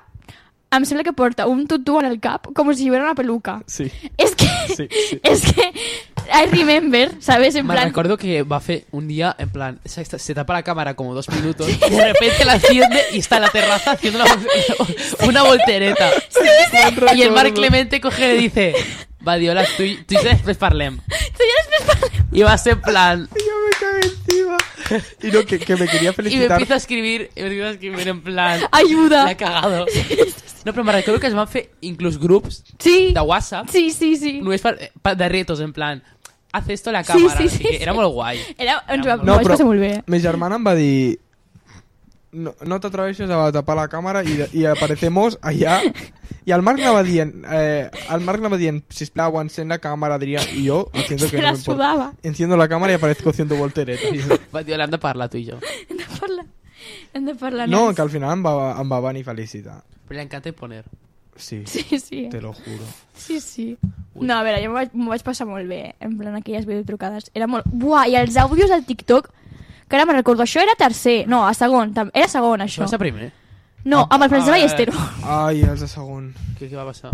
S3: em sembla que porta un tutú en el cap com si fuera una peluca.
S4: Sí.
S3: És que...
S4: Sí, sí.
S3: És que... I remember, ¿sabes? En
S2: Me
S3: plan...
S2: recuerdo que Buffet un día, en plan, se, se tapa la cámara como dos minutos y de repente la enciende y está en la terraza haciendo una, vol- una voltereta. Y el Marc Clemente coge y le dice, va, Diola, tú, y- tú y después parlem.
S3: Sí, ja després parlem.
S2: Y vas en plan...
S4: Yo me cagué encima. Y no, que, que me quería
S2: Y me
S4: felicitar.
S2: empiezo a escribir, y me empiezo a escribir en plan...
S3: Ajuda.
S2: La he cagado. No, pero me recuerdo que es Buffet incluso groups
S3: Sí.
S2: de WhatsApp
S3: Sí, sí, sí.
S2: no es pa- pa- de retos, en plan, haz esto a la cámara.
S3: sí,
S2: así
S3: sí,
S2: que
S3: sí.
S2: Era muy guay.
S3: Era, ens va,
S4: No,
S3: no, però...
S4: però
S3: passar molt bé.
S4: mi germana em va dir... No, no t'atreveixes a tapar la càmera i, i aparecemos allà. I el Marc anava dient, eh, el Marc anava dient, sisplau, encén la càmera, Adrià, i jo, entiendo que
S3: Se
S4: no
S3: la
S4: me importa.
S3: sudaba.
S4: Enciendo la càmera i aparezco haciendo volteretas.
S2: Va, tío, le anda a parlar tú y yo.
S3: Hem de parlar. Hem de parlar.
S4: No,
S3: nens.
S4: que al final em va, em va venir felicitar.
S2: Pero le encanta imponer.
S4: Sí,
S3: Sí, sí.
S4: te lo juro.
S3: Sí, sí. No, a veure, jo m'ho vaig, m'ho vaig passar molt bé, eh, en plan aquelles videotrucades. Era molt... Buah, i els àudios del TikTok, que ara me'n recordo, això era tercer, no, a segon, tam... era segon,
S2: Això
S3: això.
S2: va ser primer.
S3: No, amb el Francesc
S2: Ah, eh.
S3: Ballestero.
S4: Ai, els de segon.
S2: Què, què va passar?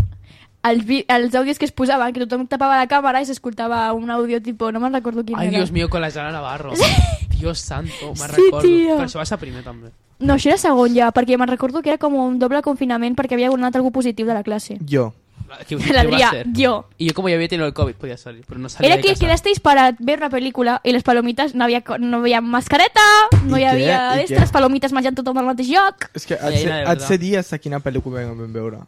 S3: Els, vi... els àudios que es posaven, que tothom tapava la càmera i s'escoltava un àudio tipo, no me'n recordo quin
S2: Ai,
S3: era.
S2: Dios mío, con la Jana Navarro. Dios santo, me
S3: Sí,
S2: recordo.
S3: tio.
S2: Però això va ser primer, també.
S3: No, això era segon ja, perquè me'n recordo que era com un doble confinament perquè havia donat algú positiu de la classe.
S4: Jo.
S2: Qui, qui va
S3: L'Adrià,
S2: ser?
S3: jo.
S2: Y yo como ya había tenido el COVID, podía salir, pero no salía
S3: Era
S2: de
S3: que
S2: casa.
S3: quedasteis para ver una película y les palomitas no había, co- no había mascareta, no
S4: I
S3: hi
S4: què? I
S3: havia
S4: què?
S3: d'estres, les palomites menjant tothom al mateix lloc.
S4: És que
S2: Ja,
S4: et sé,
S2: ja, de
S4: et
S2: verdad.
S4: sé dir hasta quina pel·lícula vam veure.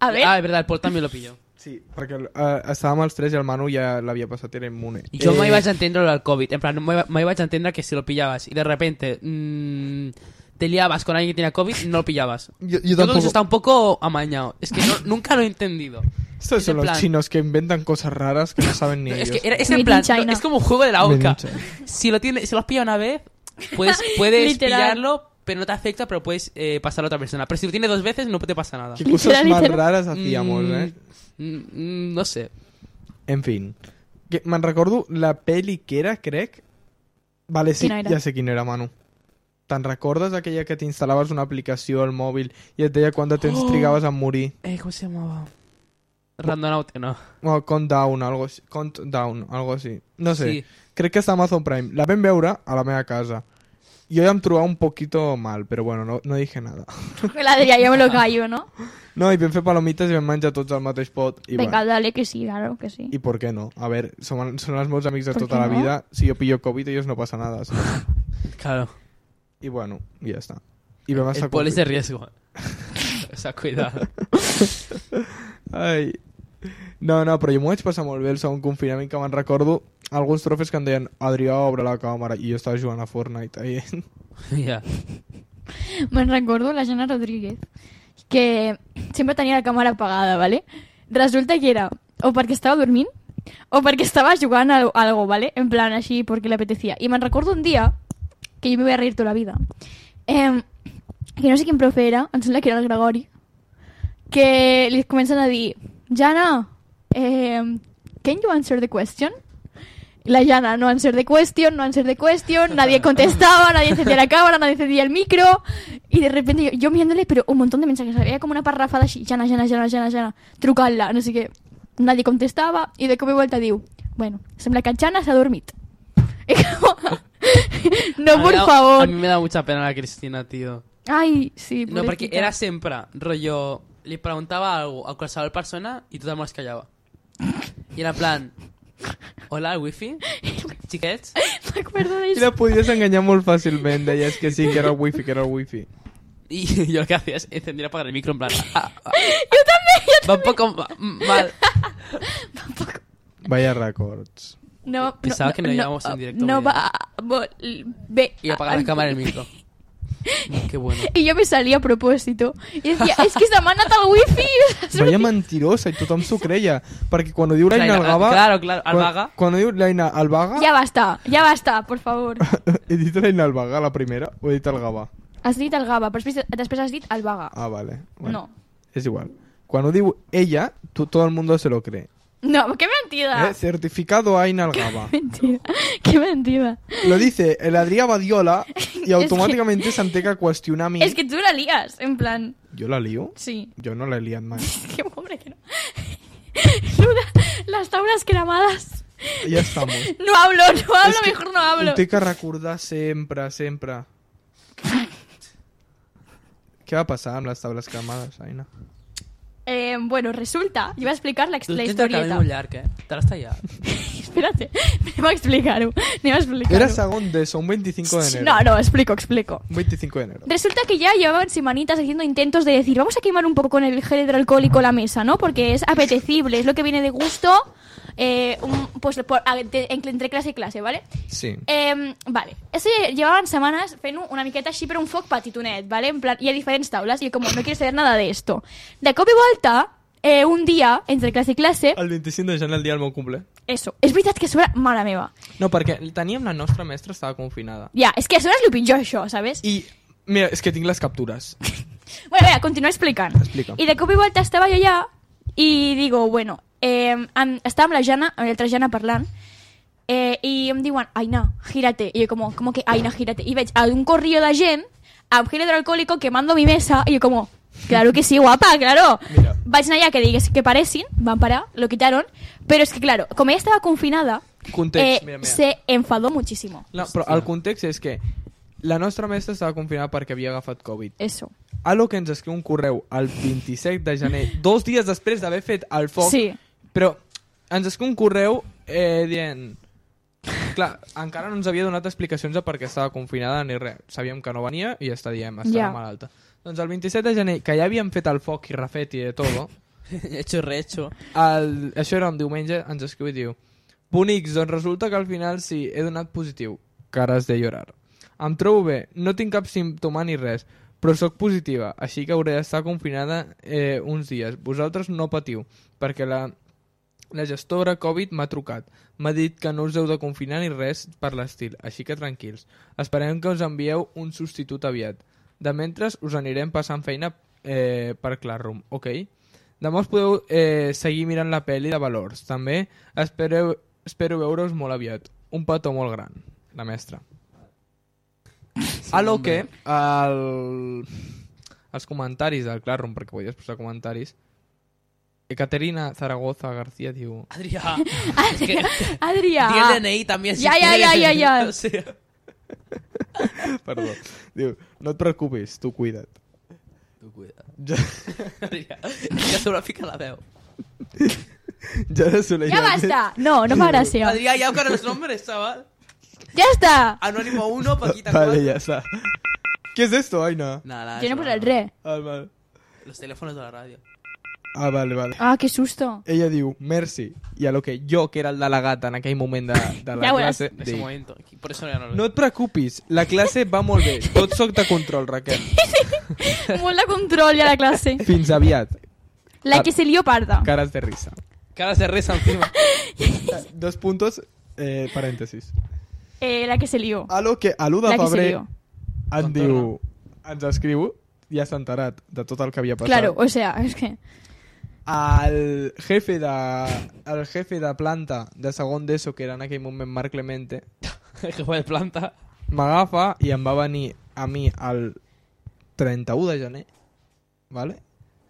S3: A veure,
S2: Ah, es verdad, el Pol también lo pilló.
S4: Sí, perquè eh, estàvem els tres i el Manu ja l'havia passat, era immune.
S2: Y yo me
S4: Eh,
S2: iba a entender lo del COVID. En plan, me, me iba a entender que si lo pillabas y de repente mm, te liabas con alguien que tenía COVID, no lo pillabas.
S4: Yo- yo
S2: creo que
S4: tampoco.
S2: eso está un poco amañado. Es que no- nunca lo he entendido.
S4: Estos
S2: Es
S4: son
S2: en
S4: los
S2: plan-
S4: chinos que inventan cosas raras que no saben ni
S2: Es
S4: ellos.
S2: que era- es
S3: Made
S2: en
S3: in
S2: plan,
S3: China.
S2: no, es como un juego de la
S4: Made in
S2: OCA.
S4: China.
S2: Si lo tienes, si lo has pillado una vez, puedes, puedes
S3: Literal.
S2: pillarlo, pero no te afecta, pero puedes eh, pasar a otra persona. Pero si lo tienes dos veces, no te pasa nada.
S4: Qué cosas
S3: Literal,
S4: más
S3: literal.
S4: raras hacíamos,
S2: Mm,
S4: eh?
S2: mm, mm, no sé.
S4: En fin. Que, me'n recordo la peli que era, crec... Vale, sí,
S3: Quina era?
S4: ja sé quina era, Manu. Te'n recordes aquella que t'instal·laves una aplicació al mòbil i et deia quant de temps
S2: Oh.
S4: trigaves a morir?
S2: Eh, ¿Cómo se llamaba? Randonaut, no.
S4: O Countdown, algo així. Countdown, algo així. No sé.
S2: Sí.
S4: Crec que està a Amazon Prime. La vam veure a la meva casa. Jo ja em trobava un poquito mal, però bueno, no, no dije nada.
S3: l'Adrià ja me lo callo, no?
S4: No, i vam fer palomites i vam menjar tots al mateix pot. I
S3: Vinga,
S4: bueno.
S3: dale, que sí, claro, que sí.
S4: ¿Y por qué no? A ver, son, son los meus amigos de
S3: ¿Por
S4: toda
S3: qué
S4: la
S3: no?
S4: vida. Si yo pillo COVID, ellos no pasa nada. ¿sabes?
S2: Claro.
S4: y bueno, y ya está. Y me vas a
S2: El Pol es de
S4: cumplir.
S2: riesgo. o sea, cuidado.
S4: Ai. No, no, però jo m'ho vaig passar molt bé el segon confinament, que me'n recordo alguns trofes que em deien Adrià, obre la càmera, i jo estava jugant a Fortnite. Ahí.
S2: Ya.
S3: Me'n recordo la Jana Rodríguez, que sempre tenia la càmera apagada, ¿vale? Resulta que era o perquè estava dormint o perquè estava jugant a algo, ¿vale? En plan, així, perquè li apetecía. I me'n recordo un dia que jo me voy a reír toda la vida. Eh, que no sé quin profe era, em sembla que era el Gregori, que li comencen a dir Jana, eh, can you answer the question? Y La Jana, no answer the question, no answer the question, nadie contestaba, nadie encendía la cámara, nadie encendía el micro. Y de repente yo, yo mirándole, pero un montón de mensajes, había como una parrafada así, Jana, Jana, Jana, Jana, Jana, trucarla, no sé qué. Nadie contestaba y de cop i volta diu, bueno, sembla que Jana s'ha dormit. I com- no,
S2: A mí
S3: por
S2: me da-
S3: favor.
S2: A mí me da mucha pena la Cristina, tío.
S3: Ai, sí,
S2: No, perquè
S3: pobretita.
S2: era sempre, rotllo... Li preguntava alguna cosa a qualsevol persona i tothom es callava. I era en plan... Hola, el wifi? Xiquets?
S3: M'acordo
S4: I la
S3: d'això.
S4: podies enganyar molt fàcilment, deies que sí, que era el wifi, que era el wifi.
S2: I jo el que hacía es encender y apagar el micro en plan... Ah, ah,
S3: Jo també, jo
S2: va un poco ma- mal.
S4: Vaya records.
S3: No, no,
S2: Pensaba
S3: no,
S2: que no íbamos en directo,
S3: No
S2: mira.
S3: va... vol- Ve,
S2: Y apagar la cámara en el micro. Qué bueno.
S3: Y yo me salí a propósito. Y decía, es que se m'ha anat el wifi.
S4: Vaya mentirosa, i tothom s'ho creia. Perquè quan ho diu l'Aina
S2: Claro,
S4: Albaga...
S2: ah, claro, claro, Albaga.
S4: Quan, quan ho diu l'Aina Albaga...
S3: Ya basta, ya basta, por favor.
S4: He dit l'Aina Albaga, la primera, o he dit el Gavà?
S3: Has dit el Gava, però després, després has dit el Vaga.
S4: Ah, vale.
S3: No.
S4: És igual. Quan ho diu ella, tu, todo el mundo se lo cree.
S3: No, qué mentira.
S4: Eh? Certificado Aina Algaba.
S3: Mentira, qué mentira.
S4: Lo dice el Adrià Badiola y automáticamente s'enteca qüestionar a mi.
S3: Es que tú la lías, en plan,
S4: Jo la lío?
S3: sí.
S4: Jo no l'he liat mai.
S3: Qué hombre que no. Luda, las tablas cremadas.
S4: Ja estamos.
S3: No hablo, no hablo,
S4: És que
S3: mejor no hablo.
S4: Ho té que recordar sempre, sempre. Què va passar amb les taules cremades, Aina?
S3: Eh, bueno, resulta, yo voy a explicar la, ex-
S2: Tú
S3: la
S2: te acabas de
S3: historieta.
S2: mullar, ¿qué? Te la has tallado.
S3: Espérate, me va a explicar, me va a explicar.
S4: Era segon d'ESO, un 25 de enero.
S3: No, no, explico, explico.
S4: Un 25 de enero.
S3: Resulta que ya llevaban semanitas haciendo intentos de decir, vamos a quemar un poco con el gel hidroalcohólico la mesa, ¿no? Porque es apetecible, es lo que viene de gusto, eh, un- pues por- a- de- en- entre clase y clase, ¿vale?
S4: Sí.
S3: Eh, vale, eso llevaban semanas fent una miqueta així, però un foc petitonet, ¿vale? En plan, y a diferentes taulas, y yo como, no quiero saber nada de esto. De cop y vuelta, eh, un día, entre clase y clase,
S4: El 25 de gener, el dia del meu cumple.
S3: eso, és veritat que a sobre, mare meva,
S4: No, perquè teníem la nostra mestra, estava confinada.
S3: ja, és que a sobre és el pitjor això, ¿sabes?
S4: I, mira, és que tinc les captures.
S3: Bueno, mira, continúa explicando.
S4: Explica.
S3: Y de cop y vuelta estaba yo allà i digo, bueno, eh, em, estava amb la Jana, amb l'altra Jana parlant, eh, i em diuen, Aina, gírate. I jo com, com que Aina, gírate? I veig a un corrillo de gent amb gel hidroalcohólico quemando mi mesa i jo com, claro que sí, guapa, claro.
S4: Mira.
S3: Vaig anar allà que digues que paressin, van parar, lo quitaron, però és que, claro, com ella estava confinada,
S4: Context,
S3: eh,
S4: mira, mira.
S3: se enfadó muchísimo.
S4: No, però el context és que la nostra mestra estava confinada perquè havia agafat Covid.
S3: Eso.
S4: A lo que ens escriu un correu el 27 de gener, dos dies després d'haver fet el foc,
S3: Sí.
S4: però ens escriu un correu eh, dient... Clar, encara no ens havia donat explicacions de per què estava confinada ni res. Sabíem que no venia i ja està diem, estava
S3: Ja.
S4: malalta. Doncs el 27 de gener, que ja havíem fet el foc i refet i de todo,
S2: Hecho recho.
S4: el, això era un diumenge, ens escriu i diu Bonics, doncs resulta que al final sí, he donat positiu. Cares de llorar. Em trobo bé, no tinc cap símptoma ni res, però sóc positiva, així que hauré d'estar confinada eh, uns dies. Vosaltres no patiu, perquè la, la gestora Covid m'ha trucat. M'ha dit que no us heu de confinar ni res per l'estil, així que tranquils. Esperem que us envieu un substitut aviat. De mentre us anirem passant feina eh, per Classroom, ok? Demà us podeu eh, seguir mirant la pel·li de valors. També espereu, espero veure-us molt aviat. Un petó molt gran. La mestra. a lo que el... els comentaris del Classroom, perquè podies posar comentaris, Caterina Zaragoza García diu...
S2: Adrià. Es que,
S3: Adrià, Adrià.
S2: Di el DNI también. si
S3: Ya, ya, ya,
S2: quieres.
S3: ya, ya.
S2: O sea,
S4: Perdó. Diu, no et preocupis, tu cuida't.
S2: tu cuida.
S4: Ja,
S2: Adrià. Ja sobre fica la veu.
S4: ja de Soler
S3: Ja
S4: Ibáñez.
S3: basta. No, no fa gràcia.
S2: Adrià, ya con los nombres, chaval.
S3: Ja està.
S2: Anónimo 1, Paquita 4.
S4: Vale, ja està. Què és esto, Aina?
S2: Nada,
S3: Jo no he
S2: chaval.
S3: posat res.
S4: Ah, vale.
S2: Los teléfonos de la radio.
S4: Ah, vale, vale.
S3: Ah, que susto.
S4: Ella diu, merci. I a lo que jo, que era el delegat en aquell moment de, de la
S3: Ja veuràs.
S4: classe,
S2: En ese
S4: dic,
S2: momento. Por eso ya no lo
S4: no et preocupis, la classe va molt bé. Tot soc de control, Raquel.
S3: Molt de control ja la classe.
S4: Fins aviat.
S3: La que se lió
S2: Ah,
S3: parda.
S4: Caras de risa.
S2: Cara se reza encima.
S4: Eh, Dos puntos, eh, parèntesis.
S3: Eh, la que se
S2: Ah,
S3: lió.
S4: A lo que a l'1 de
S3: La que se
S4: febrer
S3: lió.
S4: en
S2: Contorna.
S4: diu, ens escriu, ja s'ha enterat de tot el que havia
S2: Pues
S4: passat.
S3: Claro, o sea, es que...
S4: el jefe de, el jefe de planta de segon d'ESO, que era en aquell moment Marc Clemente,
S2: El jefe de planta.
S4: m'agafa i em va venir a mi el 31 de gener, vale?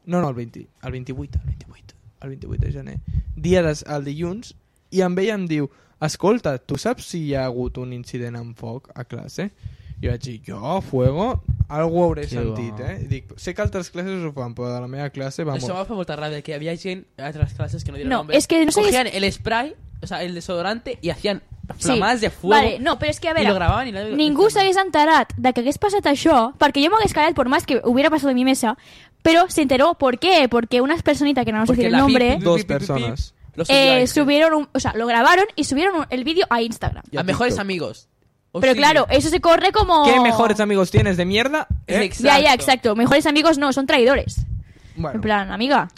S4: no, no, el, 20, el 28, el 28, el 28 de gener, dia des, el dilluns, i amb ell em diu, escolta, tu saps si hi ha hagut un incident amb foc a classe? Jo vaig dir, jo, fuego, Algú hauré
S5: Que
S4: sentit,
S5: va.
S4: eh? I Dic, sé que altres classes ho fan, però de la meva classe, vamos.
S2: Eso me fa molta rabia, que había gente en otras clases que no dieron
S3: No,
S2: nombre.
S3: es que no sé-
S2: Cogían el spray, o sea, el desodorante y hacían
S3: Sí.
S2: flamadas de fuego.
S3: Vale, no, però és que, a
S2: I
S3: veure,
S2: lo gravaven i nadie lo- este,
S3: ningú s'hagués enterat de que hagués passat això, perquè jo m'hagués callat por más que hubiera pasado en mi mesa, pero se enteró, ¿por qué? Porque unas personitas que no vamos a
S2: Porque
S3: decir el
S2: la
S3: nombre,
S2: pip-
S4: Dos
S2: pip- pip- pip-
S4: personas.
S2: lo subió a
S3: eh,
S2: Instagram.
S3: subieron, un- o sea, lo grabaron y subieron un- el vídeo a Instagram.
S2: A mejores amigos.
S3: Pero
S2: Hostia.
S3: claro, eh, eso se corre como...
S4: ¿Qué mejores amigos tienes de mierda?
S2: Es
S4: Eh,
S3: Ya, ya, exacto. Mejores amigos no, son traidores. En
S4: Bueno,
S3: plan, amiga,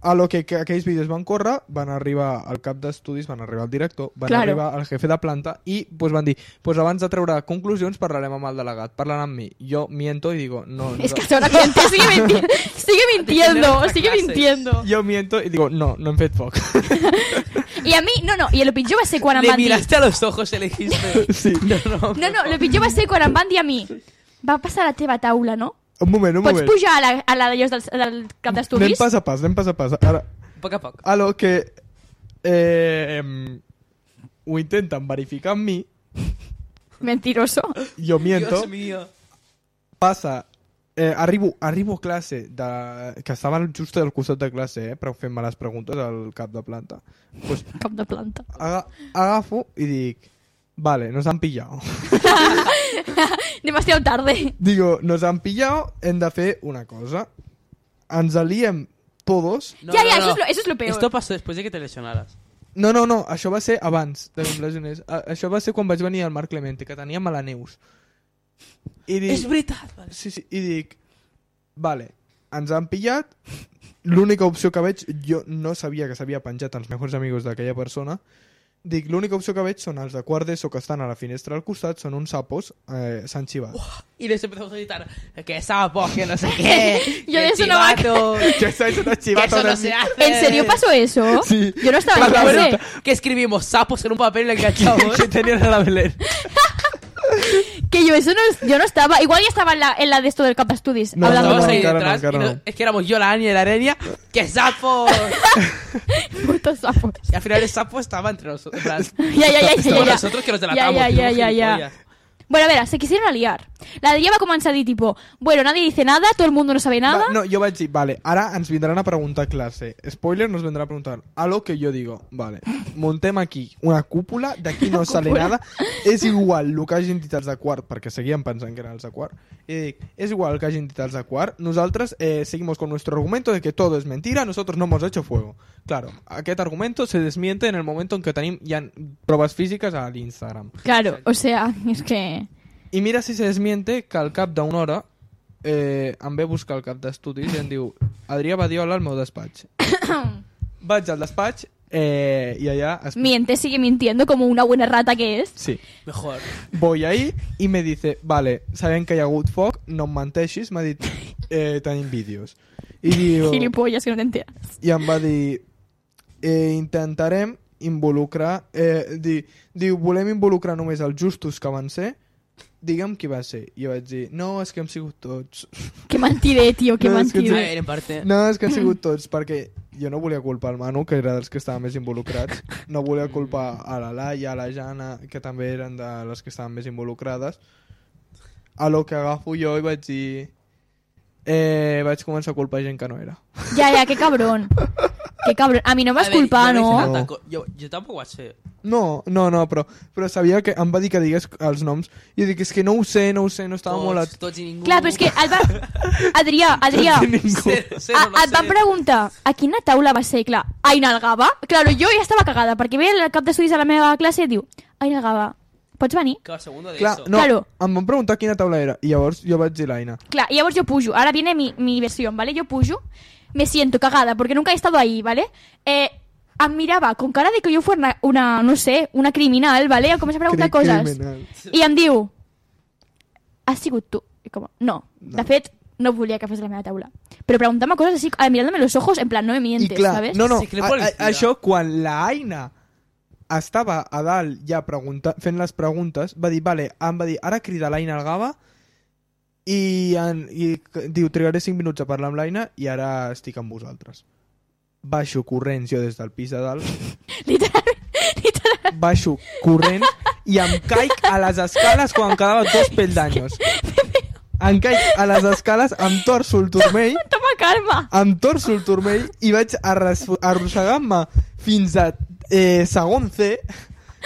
S4: a lo que, que aquells vídeos van córrer, van arribar al cap d'estudis, van arribar al director, van
S3: Claro.
S4: arribar al jefe de planta i pues, van dir, pues, abans de treure conclusions parlarem amb el delegat, parlant amb mi. Jo miento i digo, no,
S3: es
S4: no.
S3: que hasta ahora miente, sigue, minti- sigue mintiendo,
S2: nuestra
S3: sigue
S2: clase.
S3: mintiendo.
S4: Jo miento i digo, no, no hem fet foc.
S3: Y a mí, no, no, y lo pitjor va ser quan em
S2: Le
S3: van dir...
S2: miraste a los ojos y le dijiste.
S4: sí.
S2: No,
S3: No, no, el pitjor va ser quan em van dir a mi va passar a la teva taula, no?
S4: Un moment, un
S3: Pots
S4: moment.
S3: pujar a la, a la d'allòs del, del cap
S4: Anem
S3: d'estudis?
S4: pas a pas, anem pas a pas. Ara,
S2: Poco a poco.
S4: a lo que eh, em, ho intenten verificar amb mi,
S3: Mentiroso.
S4: jo miento,
S2: Dios mío.
S4: passa... Eh, arribo, arribo a classe, de, que estava just al costat de classe, eh, però fent-me les preguntes al cap de planta. Pues,
S3: Cap de planta.
S4: aga agafo i dic, vale, nos han pillado.
S3: Demasiado tarde.
S4: Digo, nos han pillado, hem de fer una cosa. Ens aliem todos.
S2: No,
S3: ya,
S2: no,
S3: ya,
S2: no.
S3: Eso, es lo, eso es lo peor.
S2: Esto pasó después de que te lesionaras.
S4: No, no, no, això va ser abans de que em lesionés. A això va ser quan vaig venir al Marc Clemente, que tenia mala neus. I dic,
S2: Es brutal. vale.
S4: sí, sí, i dic, vale, ens han pillat, l'única opció que veig, jo no sabia que s'havia penjat els mejors amigos d'aquella persona, dic, l'única opció que veig són els de quart d'ESO que estan a la finestra al costat, són uns sapos, eh, s'han xivat.
S2: Y les empezamos a gritar: Que sapo, que no sé qué.
S3: Yo de
S2: que
S3: eso no me
S2: chivato,
S4: Que s'ha hecho una
S2: Que
S4: xivata
S2: eso no
S4: de
S2: se
S4: mi.
S2: hace.
S3: ¿En serio pasó eso?
S4: Sí.
S3: Yo no estaba en
S4: Claro,
S3: clase.
S2: Que escribimos sapos en un papel y lo enganchamos.
S4: Que tenien a la Belén.
S3: Que yo eso no, yo no estaba. Igual ya estaba en la, en la de esto del cap d'estudis.
S4: No,
S3: hablando.
S2: Estábamos
S4: no,
S2: ahí
S4: encara no,
S2: detrás.
S4: encara
S2: y no-
S4: no.
S2: Es que éramos yo, la Ania y la Arenia. ¡Que sapo!
S3: Putos sapos.
S2: y al final el sapo estaba entre nosotros. en plan,
S3: Ya, ya, ya, ya,
S2: Como
S3: ya.
S2: nosotros que nos
S3: ya,
S2: delatamos.
S3: ya,
S2: que
S3: ya,
S2: somos
S3: ya, ya.
S2: gilipollas.
S3: Bueno, a ver, se quisieron aliar. La de ella va començar a dir, tipo, bueno, nadie dice nada, todo el mundo no sabe nada.
S4: Va, no, jo vaig dir, vale, ara ens vindran a preguntar a classe. Spoiler, nos vendrà a preguntar. A lo que jo digo, vale, montem aquí una cúpula, d'aquí no sale nada, és igual el que hagi entitats de quart, perquè seguíem pensant que eren els de quart, i dic, és igual el que hagi entitats de quart, nosaltres eh, seguimos con nuestro argumento de que todo es mentira, nosotros no hemos hecho fuego. Claro, aquest argumento se desmiente en el momento en que tenim ja proves físiques a l'Instagram.
S3: Claro, o sea, es que...
S4: I mira si se desmiente que al cap d'una hora eh, em ve a buscar el cap d'estudis i em diu Adrià Badiola al meu despatx. Vaig al despatx eh, i allà... Es...
S3: Miente, sigue mintiendo como una buena rata que es.
S4: Sí.
S2: Mejor.
S4: Voy ahí i me dice, vale, sabem que hi ha hagut foc, no em menteixis, m'ha dit, eh, tenim vídeos. I, diu,
S3: Gilipollas, que no te enteras.
S4: I em va dir, eh, intentarem involucrar... Eh, di, diu, volem involucrar només els justos que van ser, digue'm qui va ser. I jo vaig dir, no, és que hem sigut tots.
S3: Qué mentiré, tío, qué
S4: No, es que
S2: A
S4: Sí.
S3: mentiré.
S2: ver, en parte.
S4: No, és que han sigut tots, perquè jo no volia culpar el Manu, que era dels que estaven més involucrats. No volia culpar a la Laia, a la Jana, que també eren de les que estaven més involucrades. A lo que agafo jo i vaig dir... Eh, vaig començar a culpar gent que no era.
S3: Ya, ya, qué cabrón. Qué cabrón. A mí no me has
S2: A ver,
S3: culpado,
S2: yo hice
S3: ¿no?
S4: No.
S2: tanta co- Yo, yo tampoco hace.
S4: No, no, no, però, però sabia que em va dir que digués els noms. I jo dic, és que no ho sé, no ho sé, no estava
S2: Tots,
S4: molt... At...
S2: tots i ningú.
S3: Claro, pero es que et va... Adrià, Adrià,
S2: Cero, cero,
S3: a,
S2: no
S3: Ah, et van
S2: sé.
S3: preguntar a quina taula va ser, clar, a Inalgava? Claro, jo ja estava cagada, perquè ve el cap d'estudis a la meva classe i diu, a Inalgava, pots venir?
S2: Claro, segundo de
S4: Clar,
S2: eso.
S4: no,
S3: Claro.
S4: em van preguntar quina taula era. I llavors jo vaig dir l'Aina.
S3: Clar, y llavors jo pujo. Ahora viene mi, mi versión, ¿vale? Yo pujo. Me siento cagada porque nunca he estado ahí, ¿vale? Eh, em mirava con cara de que yo fuera una, una, no sé, una criminal, ¿vale? Em comença a preguntar
S4: Cri-
S3: coses.
S4: criminal.
S3: I em diu... Has sigut tu? I com, no. De fet, no volia que fos la meva taula. Però preguntant-me coses així, eh, mirándome los ojos, en plan, no me
S4: I
S3: mientes,
S4: clar,
S3: ¿sabes?
S4: no, no,
S2: Sí, que li
S4: a, a,
S2: pots dir,
S4: això quan la Aina estava a dalt ja pregunta, fent les preguntes, va dir, vale, em va dir, ara crida l'Aina al Gava i, en, i c- diu, trigaré 5 minuts a parlar amb l'Aina i ara estic amb vosaltres. Baixo corrents jo des del pis de dalt,
S3: Literalment, literalment,
S4: baixo corrents i em caic a les escales quan quedava dos peldaños. em caic a les escales, em torço el turmell,
S3: Toma calma!
S4: em torço el turmell i vaig arras- arrossegant-me fins a eh, segon C,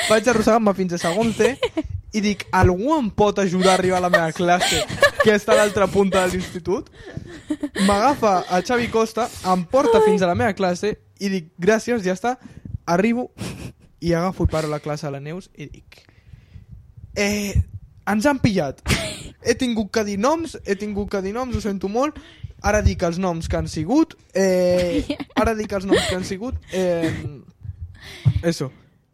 S4: vaig arrossegant-me fins a segon C i dic, algú em pot ajudar a arribar a la meva classe que està a l'altra punta de l'institut? M'agafa a Xavi Costa, em porta fins a la meva classe i dic, gràcies, ja està, arribo i agafo i paro la classe a la Neus i dic, eh, ens han pillat. He tingut que dir noms, he tingut que dir noms, ho sento molt. Ara dic els noms que han sigut. Eh, ara dic els noms que han sigut. Eh, eso.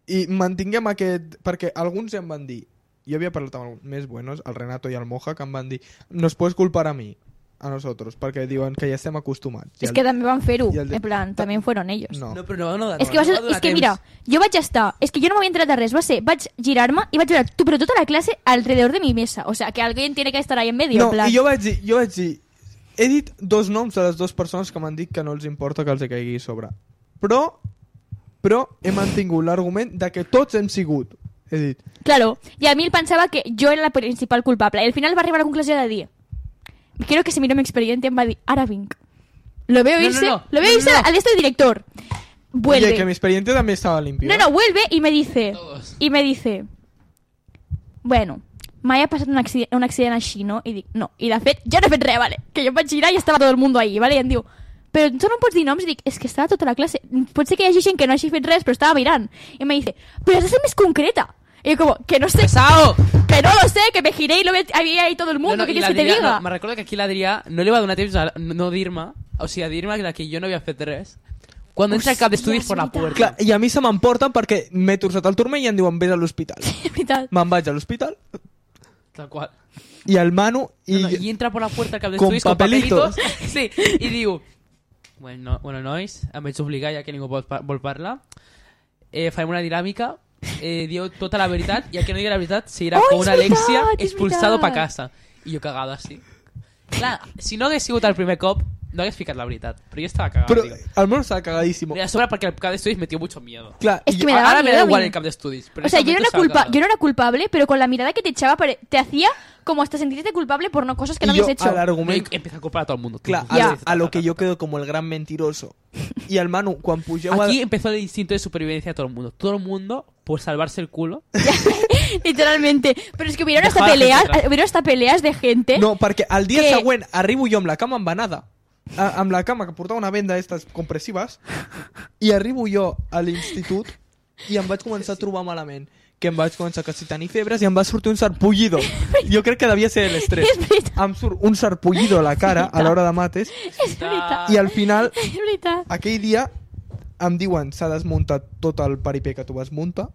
S4: I mantinguem aquest... Perquè alguns em van dir... Jo havia parlat amb alguns més buenos, el Renato i el Moja, que em van dir nos puedes culpar a mi, a nosotros, perquè diuen que ja estem acostumats. I
S3: És
S4: el-
S3: que també van fer-ho,
S4: i el de-
S3: en plan,
S4: Ta-
S3: també fueron ellos.
S4: No.
S2: No, però no, no, no
S3: És que, va ser, és que mira, jo vaig estar... És que jo no m'havia enterat de res, va ser... Vaig girar-me i vaig veure tu, però tota la classe alrededor de mi mesa. O sea, que alguien tiene que estar ahí en medio.
S4: No,
S3: en plan,
S4: i jo vaig dir, jo vaig dir, he dit dos noms de les dues persones que m'han dit que no els importa que els hi caigui a sobre. Però, però he mantingut l'argument de que tots hem sigut. He dit,
S3: Claro, y a mí él pensaba que yo era la principal culpable. Y al final va arribar a la conclusión de 10. Creo que se miró mi expediente en Badi. Ahora Vink. Lo veo
S2: No, no,
S3: irse,
S2: no.
S3: lo veo
S2: No, no,
S3: irse
S2: no.
S3: al de este director. Vuelve.
S4: oye, que mi expediente también estaba limpio.
S3: No, no, vuelve y me dice.
S2: Todos.
S3: Y me dice. Bueno, me ha pasado un accidente, un accident així, no? I dic, no. I de fet, jo no he fet res, vale? Que jo em vaig girar i estava tot el mundo ahí, vale? I em diu, però tu no em pots dir noms? I dic, és que estava tota la classe. Pot ser que hi hagi gent que no hagi fet res, però estava mirant. I me dice, però has de ser més concreta. I jo com, que no sé,
S2: ¡Pesao!
S3: que no lo sé, que me giré y lo ve- había ahí todo el mundo,
S2: No, no,
S3: ¿qué
S2: y la
S3: quieres que te
S2: Adrià-
S3: diga?
S2: no, me recuerdo que aquí la Adrià no le va a donar tips a no Dirma, o sigui, a Dirma, la que jo no havia fet res, quan entra al cap d'estudis
S3: és
S2: per la
S3: veritat.
S2: puerta.
S4: Clar, i a mi se m'emporten perquè m'he torçat el turmell i em diuen vés a l'hospital.
S3: De veritat.
S4: Me'n vaig a l'hospital
S2: Tal qual.
S4: i el Manu i...
S2: No, no, y entra por la puerta al cap
S4: Con
S2: d'estudis con,
S4: papelitos.
S2: papelitos. Sí, i diu... Bueno, no, bueno, nois, em vaig obligar ja que ningú pot pa- vol parlar. Eh, farem una dinàmica. Eh, dieu tota la veritat i el que no digui la veritat seguirà
S3: Oh,
S2: con
S3: és
S2: una Alexia
S3: veritat, és
S2: expulsado pa casa.
S3: veritat.
S2: I jo cagado així. Clar, si no hagués sigut el primer cop, no hagués ficat la veritat. Però jo estava cagado,
S4: Però
S2: tio.
S4: el Manu estava cagadíssimo.
S2: Y a sobre porque el cap de estudios metió mucho miedo.
S4: Clar,
S3: Es
S4: i
S3: que me
S4: jo-
S3: daba
S2: Ahora me da
S3: miedo,
S2: igual
S3: Vin.
S2: el cap de estudios. Pero
S3: O
S2: en
S3: sea,
S2: ese
S3: yo no, era
S2: momento
S3: culpa,
S2: estaba
S3: yo no era culpable, pero con la mirada que te echaba pare- te hacía como hasta sentirte culpable por no cosas que no
S4: i jo
S3: habías hecho.
S4: a l'argument...
S2: cagado. No, y empieza a culpar a todo el mundo.
S4: Clar,
S2: Todo
S4: a,
S2: el
S3: Ya.
S4: lo,
S2: mundo.
S4: a lo que jo quedo como el gran mentiroso. I el Manu, quan pugeu a...
S2: Aquí empezó el instinto de supervivencia de todo el mundo. Todo el mundo, por salvarse el culo,
S3: Literalmente. Pero es que hubieron hasta
S2: Dejaba la gente
S3: peleas,
S2: atrás.
S3: hubieron hasta peleas de gente.
S4: No, perquè el dia
S3: Que-
S4: següent arribo jo amb la cama embanada, a, amb la cama que portava una venda d'estes compressives, i arribo jo a l'institut i em vaig començar a trobar malament que em vaig començar quasi a tenir febres i em va sortir un sarpullido. Jo crec que devia ser l'estrès.
S3: És veritat.
S4: Em surt un sarpullido a la cara a l'hora de mates
S3: Es verdad.
S4: i al final,
S3: Es verdad.
S4: aquell dia, em diuen s'ha desmuntat tot el peripé que tu vas muntar.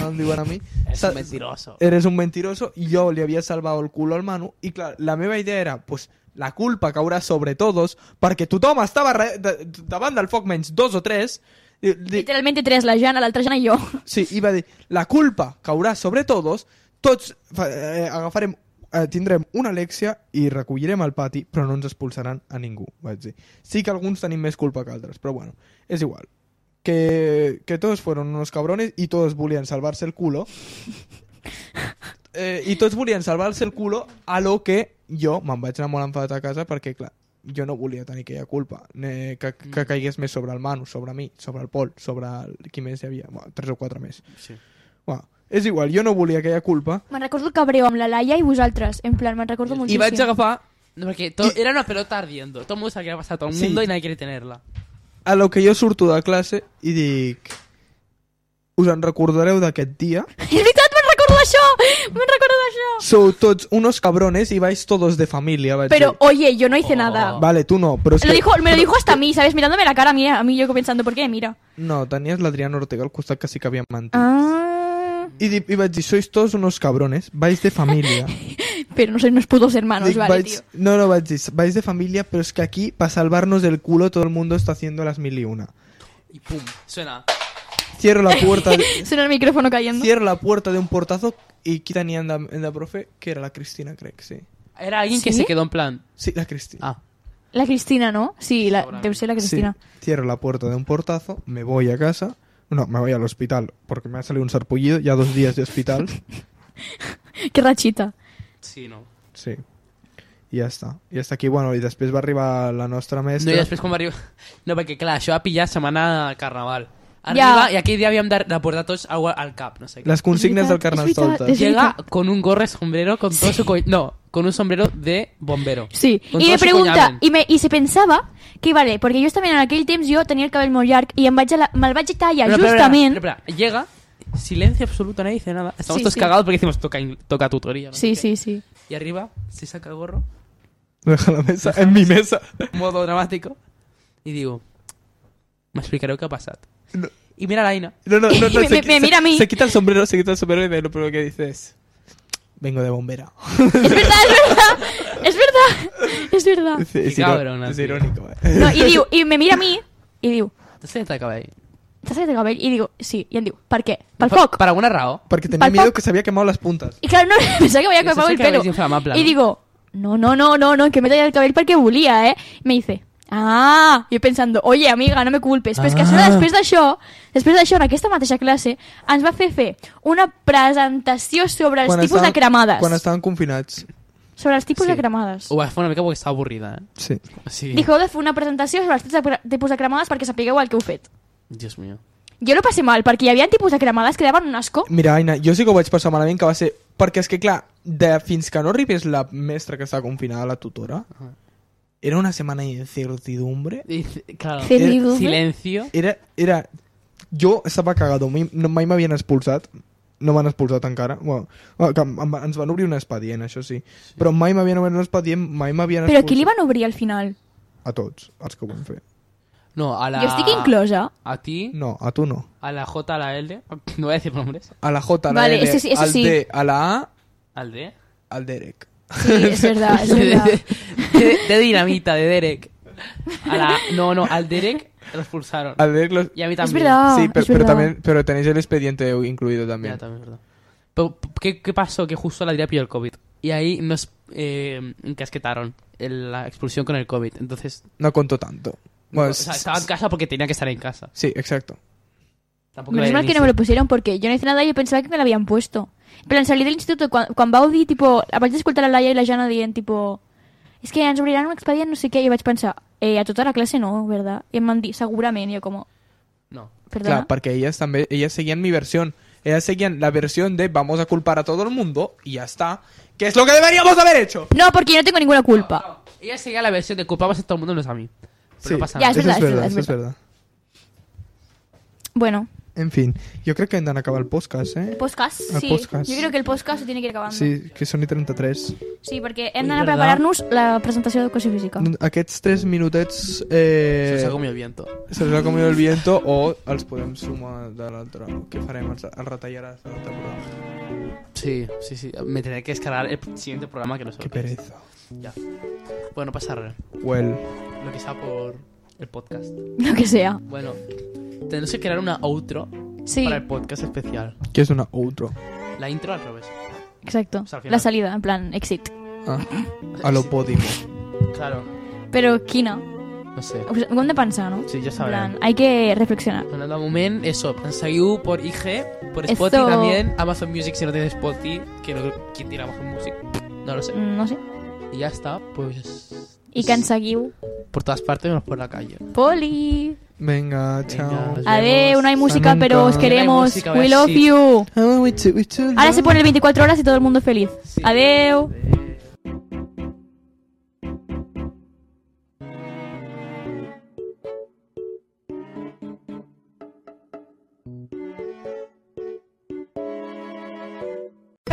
S4: Em diuen a mi.
S2: es
S4: "S'ha-
S2: un mentiroso.
S4: eres un mentiroso y yo le había salvado el culo al Manu y claro, la meva idea era, pues, la culpa caurà sobre todos perquè tothom estava re, de, davant del foc menys dos o tres i, di,
S3: Literalmente tres, la Jana, la otra Jana y yo.
S4: sí, i va dir, la culpa caurà sobre todos tots fa- eh, agafarem eh, tindrem una lèxia i recollirem al pati, però no ens expulsaran a ningú, vaig dir. Sí que alguns tenim més culpa que altres, però bueno, és igual. Que, que todos fueron unos cabrones y todos volien salvarse el culo eh, i tots volien salvar-se el culo a lo que jo me'n vaig anar molt enfadat a casa perquè, clar, jo no volia tenir aquella culpa eh, que, que caigués més sobre el Manu, sobre mi, sobre el Pol, sobre el, qui més hi havia, bueno, tres o quatre més.
S2: Sí.
S4: Bueno, és igual, jo no volia aquella culpa
S3: Me recuerdo el cabreo amb la Laia y vosaltres. En plan, me recuerdo
S2: Y
S3: muchísimo.
S2: va a agafar... no, Porque to- era una pelota ardiendo. Todo el mundo sabía que pasar a todo el
S4: Sí.
S2: mundo y nadie quiere tenerla.
S4: a lo que jo surto de classe i dic us en recordareu d'aquest dia?
S3: És veritat, me'n recordo d'això! Me'n recordo d'això!
S4: Sou tots unos cabrones y vais todos de familia. Vaig
S3: Pero,
S4: dir.
S3: oye, yo no hice
S2: Oh.
S3: nada.
S4: Vale, tú no, pero es
S3: Lo
S4: que-
S3: dijo, me lo dijo hasta a mí, ¿sabes? Mirándome la cara a mí, a mí yo pensando, ¿por qué me mira?
S4: No, tenies l'Adrián Ortega al costat que sí que havia mentit.
S3: Ah...
S4: I, di- i vaig dir, sois todos unos cabrones, vais de familia.
S3: Pero Ah, no sois unos putos hermanos,
S4: Dic,
S3: vale,
S4: vais-
S3: tío.
S4: no, no, vais, de- vais de familia, pero es que aquí, para salvarnos del culo, todo el mundo está haciendo las mil y una.
S2: Y pum, suena.
S4: Cierro la puerta, de-
S3: Suena el micrófono cayendo.
S4: cierro la puerta de un portazo y quitan y anda, anda profe, que era la Cristina, creo que sí.
S2: Era alguien que
S3: ¿Sí?
S2: se quedó en plan...
S4: Sí, la Cristina.
S2: Ah.
S3: La Cristina, ¿no? Sí, la, debe ser la Cristina.
S4: Sí. Cierro la puerta de un portazo, me voy a casa. No, me voy al hospital, porque me ha salido un sarpullido, ya dos días de hospital.
S3: Qué rachita.
S2: Sí, no.
S4: Sí. I ja està. I està aquí, bueno, i després va arribar la nostra
S2: No,
S4: mestra.
S2: i després quan va arribar... No, perquè clar, això va pillar setmana al carnaval.
S3: Ja.
S2: Arriba, i aquell dia havíem de, de portar tots aigua al cap, no sé què.
S4: Les consignes
S3: És
S4: del ¿eh?
S3: veritat, és
S4: Carnestoltes.
S3: veritat,
S2: Llega con un gorro sombrero con todo su co... No, con un sombrero de bombero.
S3: Sí,
S2: Con
S3: y
S2: todo
S3: me
S2: su
S3: pregunta,
S2: collamen.
S3: y, me, y se pensava que, vale, perquè jo també en aquell temps jo tenia el cabell molt llarg i em vaig a la, me'l vaig a tallar
S2: Pero, pero,
S3: justament...
S2: pero, pero, pero, llega, silencio absoluto, nadie dice nada. Estamos
S3: Sí,
S2: todos
S3: sí.
S2: cagados porque decimos toca, in- toca tutoría. ¿no?
S3: Sí,
S2: sé qué.
S3: sí, sí.
S2: Y arriba se saca el gorro,
S4: Deja la mesa, en mi mesa.
S2: modo dramático, y digo, me explicaré qué ha pasado.
S4: No.
S2: Y mira a la Aina.
S4: No, no, no, no,
S3: Me-
S4: se,
S3: me-
S4: qui-
S3: me
S4: se-
S3: mira a mí.
S4: se quita el sombrero, se quita el sombrero y de lo primero que dices. Vengo de bombera.
S3: Es verdad, es verdad, es verdad, es verdad.
S4: Es, es
S2: Qué
S4: iró-
S2: cabrona,
S4: es
S2: tío.
S4: irónico, eh.
S3: No, i, diu, i me mira a mi i diu,
S2: Entonces te acaba ahí.
S3: t'has fet el cabell? I diu, sí, i em diu, per què? Pel foc.
S2: Para alguna raó.
S4: Porque tenía
S3: Pal-
S4: miedo
S3: pal-
S4: que se había quemado las puntas.
S3: I clar, no, pensava que m'havia
S2: Eso
S3: acabado
S2: sí
S3: el
S2: que habéis
S3: pelo.
S2: inflamable,
S3: Y
S2: ¿no?
S3: digo, no, no, no, no, no, que me tallé el cabello porque volía, ¿eh? Me dice, ah, yo pensando, oye, amiga, no me culpes. Però és que a sobre,
S2: Ah.
S3: després d'això, després d'això, en aquesta mateixa classe, ens va fer fer una presentació sobre els
S4: Quan
S3: tipus de
S4: estaven-
S3: cremades.
S4: Quan estaven confinats.
S3: Sobre els tipus
S2: Sí.
S3: de cremades.
S2: Ua, fue una mica porque estaba aburrida, ¿eh?
S4: Sí.
S2: Sí.
S3: Dijeu de fer una presentació sobre els tipus de, cre- tipus de cremades perquè sapigueu el que heu fet.
S2: Dios mío.
S3: Jo lo passé mal, perquè hi havia tipus de cremades que daven un asco.
S4: Mira, Aina, jo sí que ho vaig passar malament, que va ser... Perquè és que, clar, de, fins que no arribés la mestra que està confinada, la tutora,
S2: Ajá.
S4: era una setmana d'incertidumbre.
S2: Y c- claro. eh,
S3: Cerridumbre.
S2: Silencio.
S4: Era, era... Jo estava cagado, mai, no, mai m'havien expulsat, no m'han expulsat encara. Bueno, que em- em- ens van obrir un expedient, això sí. Però mai m'havien obert un expedient, mai m'havien
S3: Però
S4: expulsat.
S3: a qui li van obrir al final?
S4: A tots, els que ho van fer.
S2: No, a la...
S3: Jo estic inclosa.
S2: A ti,
S4: No, a tu no.
S2: a la J, a la L. No voy a decir nombres.
S4: A la J, a la
S3: Vale,
S4: L,
S3: eso sí, eso
S4: al
S3: sí.
S4: D, a la A,
S2: Al D.
S4: al Derek.
S3: Sí, és verdad, és Ah, verdad.
S2: De, de dinamita, de Derek. A la... No, no, al Derek lo expulsaron.
S4: Al Derek los...
S2: Y a mí
S3: Es
S2: también.
S3: verdad. Ah,
S4: sí, pero,
S3: es
S4: pero
S3: verdad.
S4: también, pero tenéis el expediente incluido también.
S2: Ya, también es verdad. Pero, ¿qué, qué pasó? Que justo la diría pilló el COVID. Y ahí nos eh, encasquetaron el- la expulsión con el COVID. Entonces,
S4: No contó tanto.
S2: o
S4: Bueno,
S2: sea,
S4: s-
S2: estaba en
S4: s-
S2: casa porque tenía que estar en casa.
S4: Sí, exacto.
S2: Tampoco
S3: Menos
S2: era
S3: mal
S2: el
S3: que no me lo pusieron porque yo no hice nada y yo pensaba que me lo habían puesto. Pero en salir del instituto, quan, quan vau dir, tipo... Vaig escoltar la Laia i la Jana dient, tipo... És que ens obriran un expedient, no sé què, i vaig pensar... Eh, a tota la classe no, ¿verdad? I em van dir, segurament, i jo com...
S2: No.
S3: Perdona?
S4: Claro, porque ellas también, ellas seguían mi versión. Ellas seguían la versión de vamos a culpar a todo el mundo y ya está. Que es lo que deberíamos haber hecho.
S3: No, porque yo no tengo ninguna culpa.
S2: Ella seguía la versión de culpamos a todo el mundo menos a mí. Pero
S4: Sí.
S2: no pasa
S3: Ya,
S2: nada.
S3: es
S4: Eso
S3: verdad, es verdad,
S4: eso
S3: es Bueno,
S4: En fin, yo creo que andan a acabar el podcast, ¿eh?
S3: podcast,
S4: El
S3: sí.
S4: podcast.
S3: Jo crec que el podcast se tiene que ir acabando. Sí,
S4: Sí, que son i 33.
S3: sí perquè hem
S2: Ui,
S3: d'anar
S2: verdad.
S3: a preparar-nos la presentació d'educació física.
S4: Aquests 3 minutets eh,
S2: Se nos ha comido el viento.
S4: se'ls ha comido el viento o els podem sumar de l'altre. Què farem? Els, els retallaràs de l'altre programa.
S2: Sí, sí, sí. Me tendré que descargar el siguiente programa que no sé.
S4: Que
S2: lo que es.
S4: pereza.
S2: Ya. Bueno, pasar
S4: Well.
S2: lo que sea por el podcast.
S3: Lo que sea.
S2: Bueno, tenemos que crear una outro
S3: Sí,
S2: para el podcast especial.
S4: Que és una outro.
S2: La intro al revés.
S3: exacto.
S2: O sea, al final.
S3: La salida, en plan, exit.
S4: Ah, a lo pódico.
S2: Claro,
S3: Però quina?
S2: no sé.
S3: Ho ho hem de pensar, no?
S2: Sí, ya
S3: En plan,
S2: sabrán.
S3: hay que reflexionar.
S2: Bueno, de moment, eso, seguiu por IG, por
S3: Eso.
S2: Spotify también, Amazon Music si no tenéis Spotify, que no creo quién tiene Amazon Music, no lo sé.
S3: Mm, No sé.
S2: Y ya está, pues...
S3: I que ens seguiu.
S2: Por todas partes menos por la calle.
S3: Poli!
S4: Venga, chao.
S2: Venga, nos
S3: Adeu,
S2: vemos.
S3: no hay música,
S4: nunca.
S3: pero os
S4: No hay
S3: queremos.
S2: música,
S3: We
S2: vaya
S3: love
S2: shit.
S3: you.
S4: Oh, we took- we took
S3: Ahora se
S4: long.
S3: pone el 24 horas y todo el mundo feliz.
S2: Sí.
S3: Adeu.
S2: Adeu.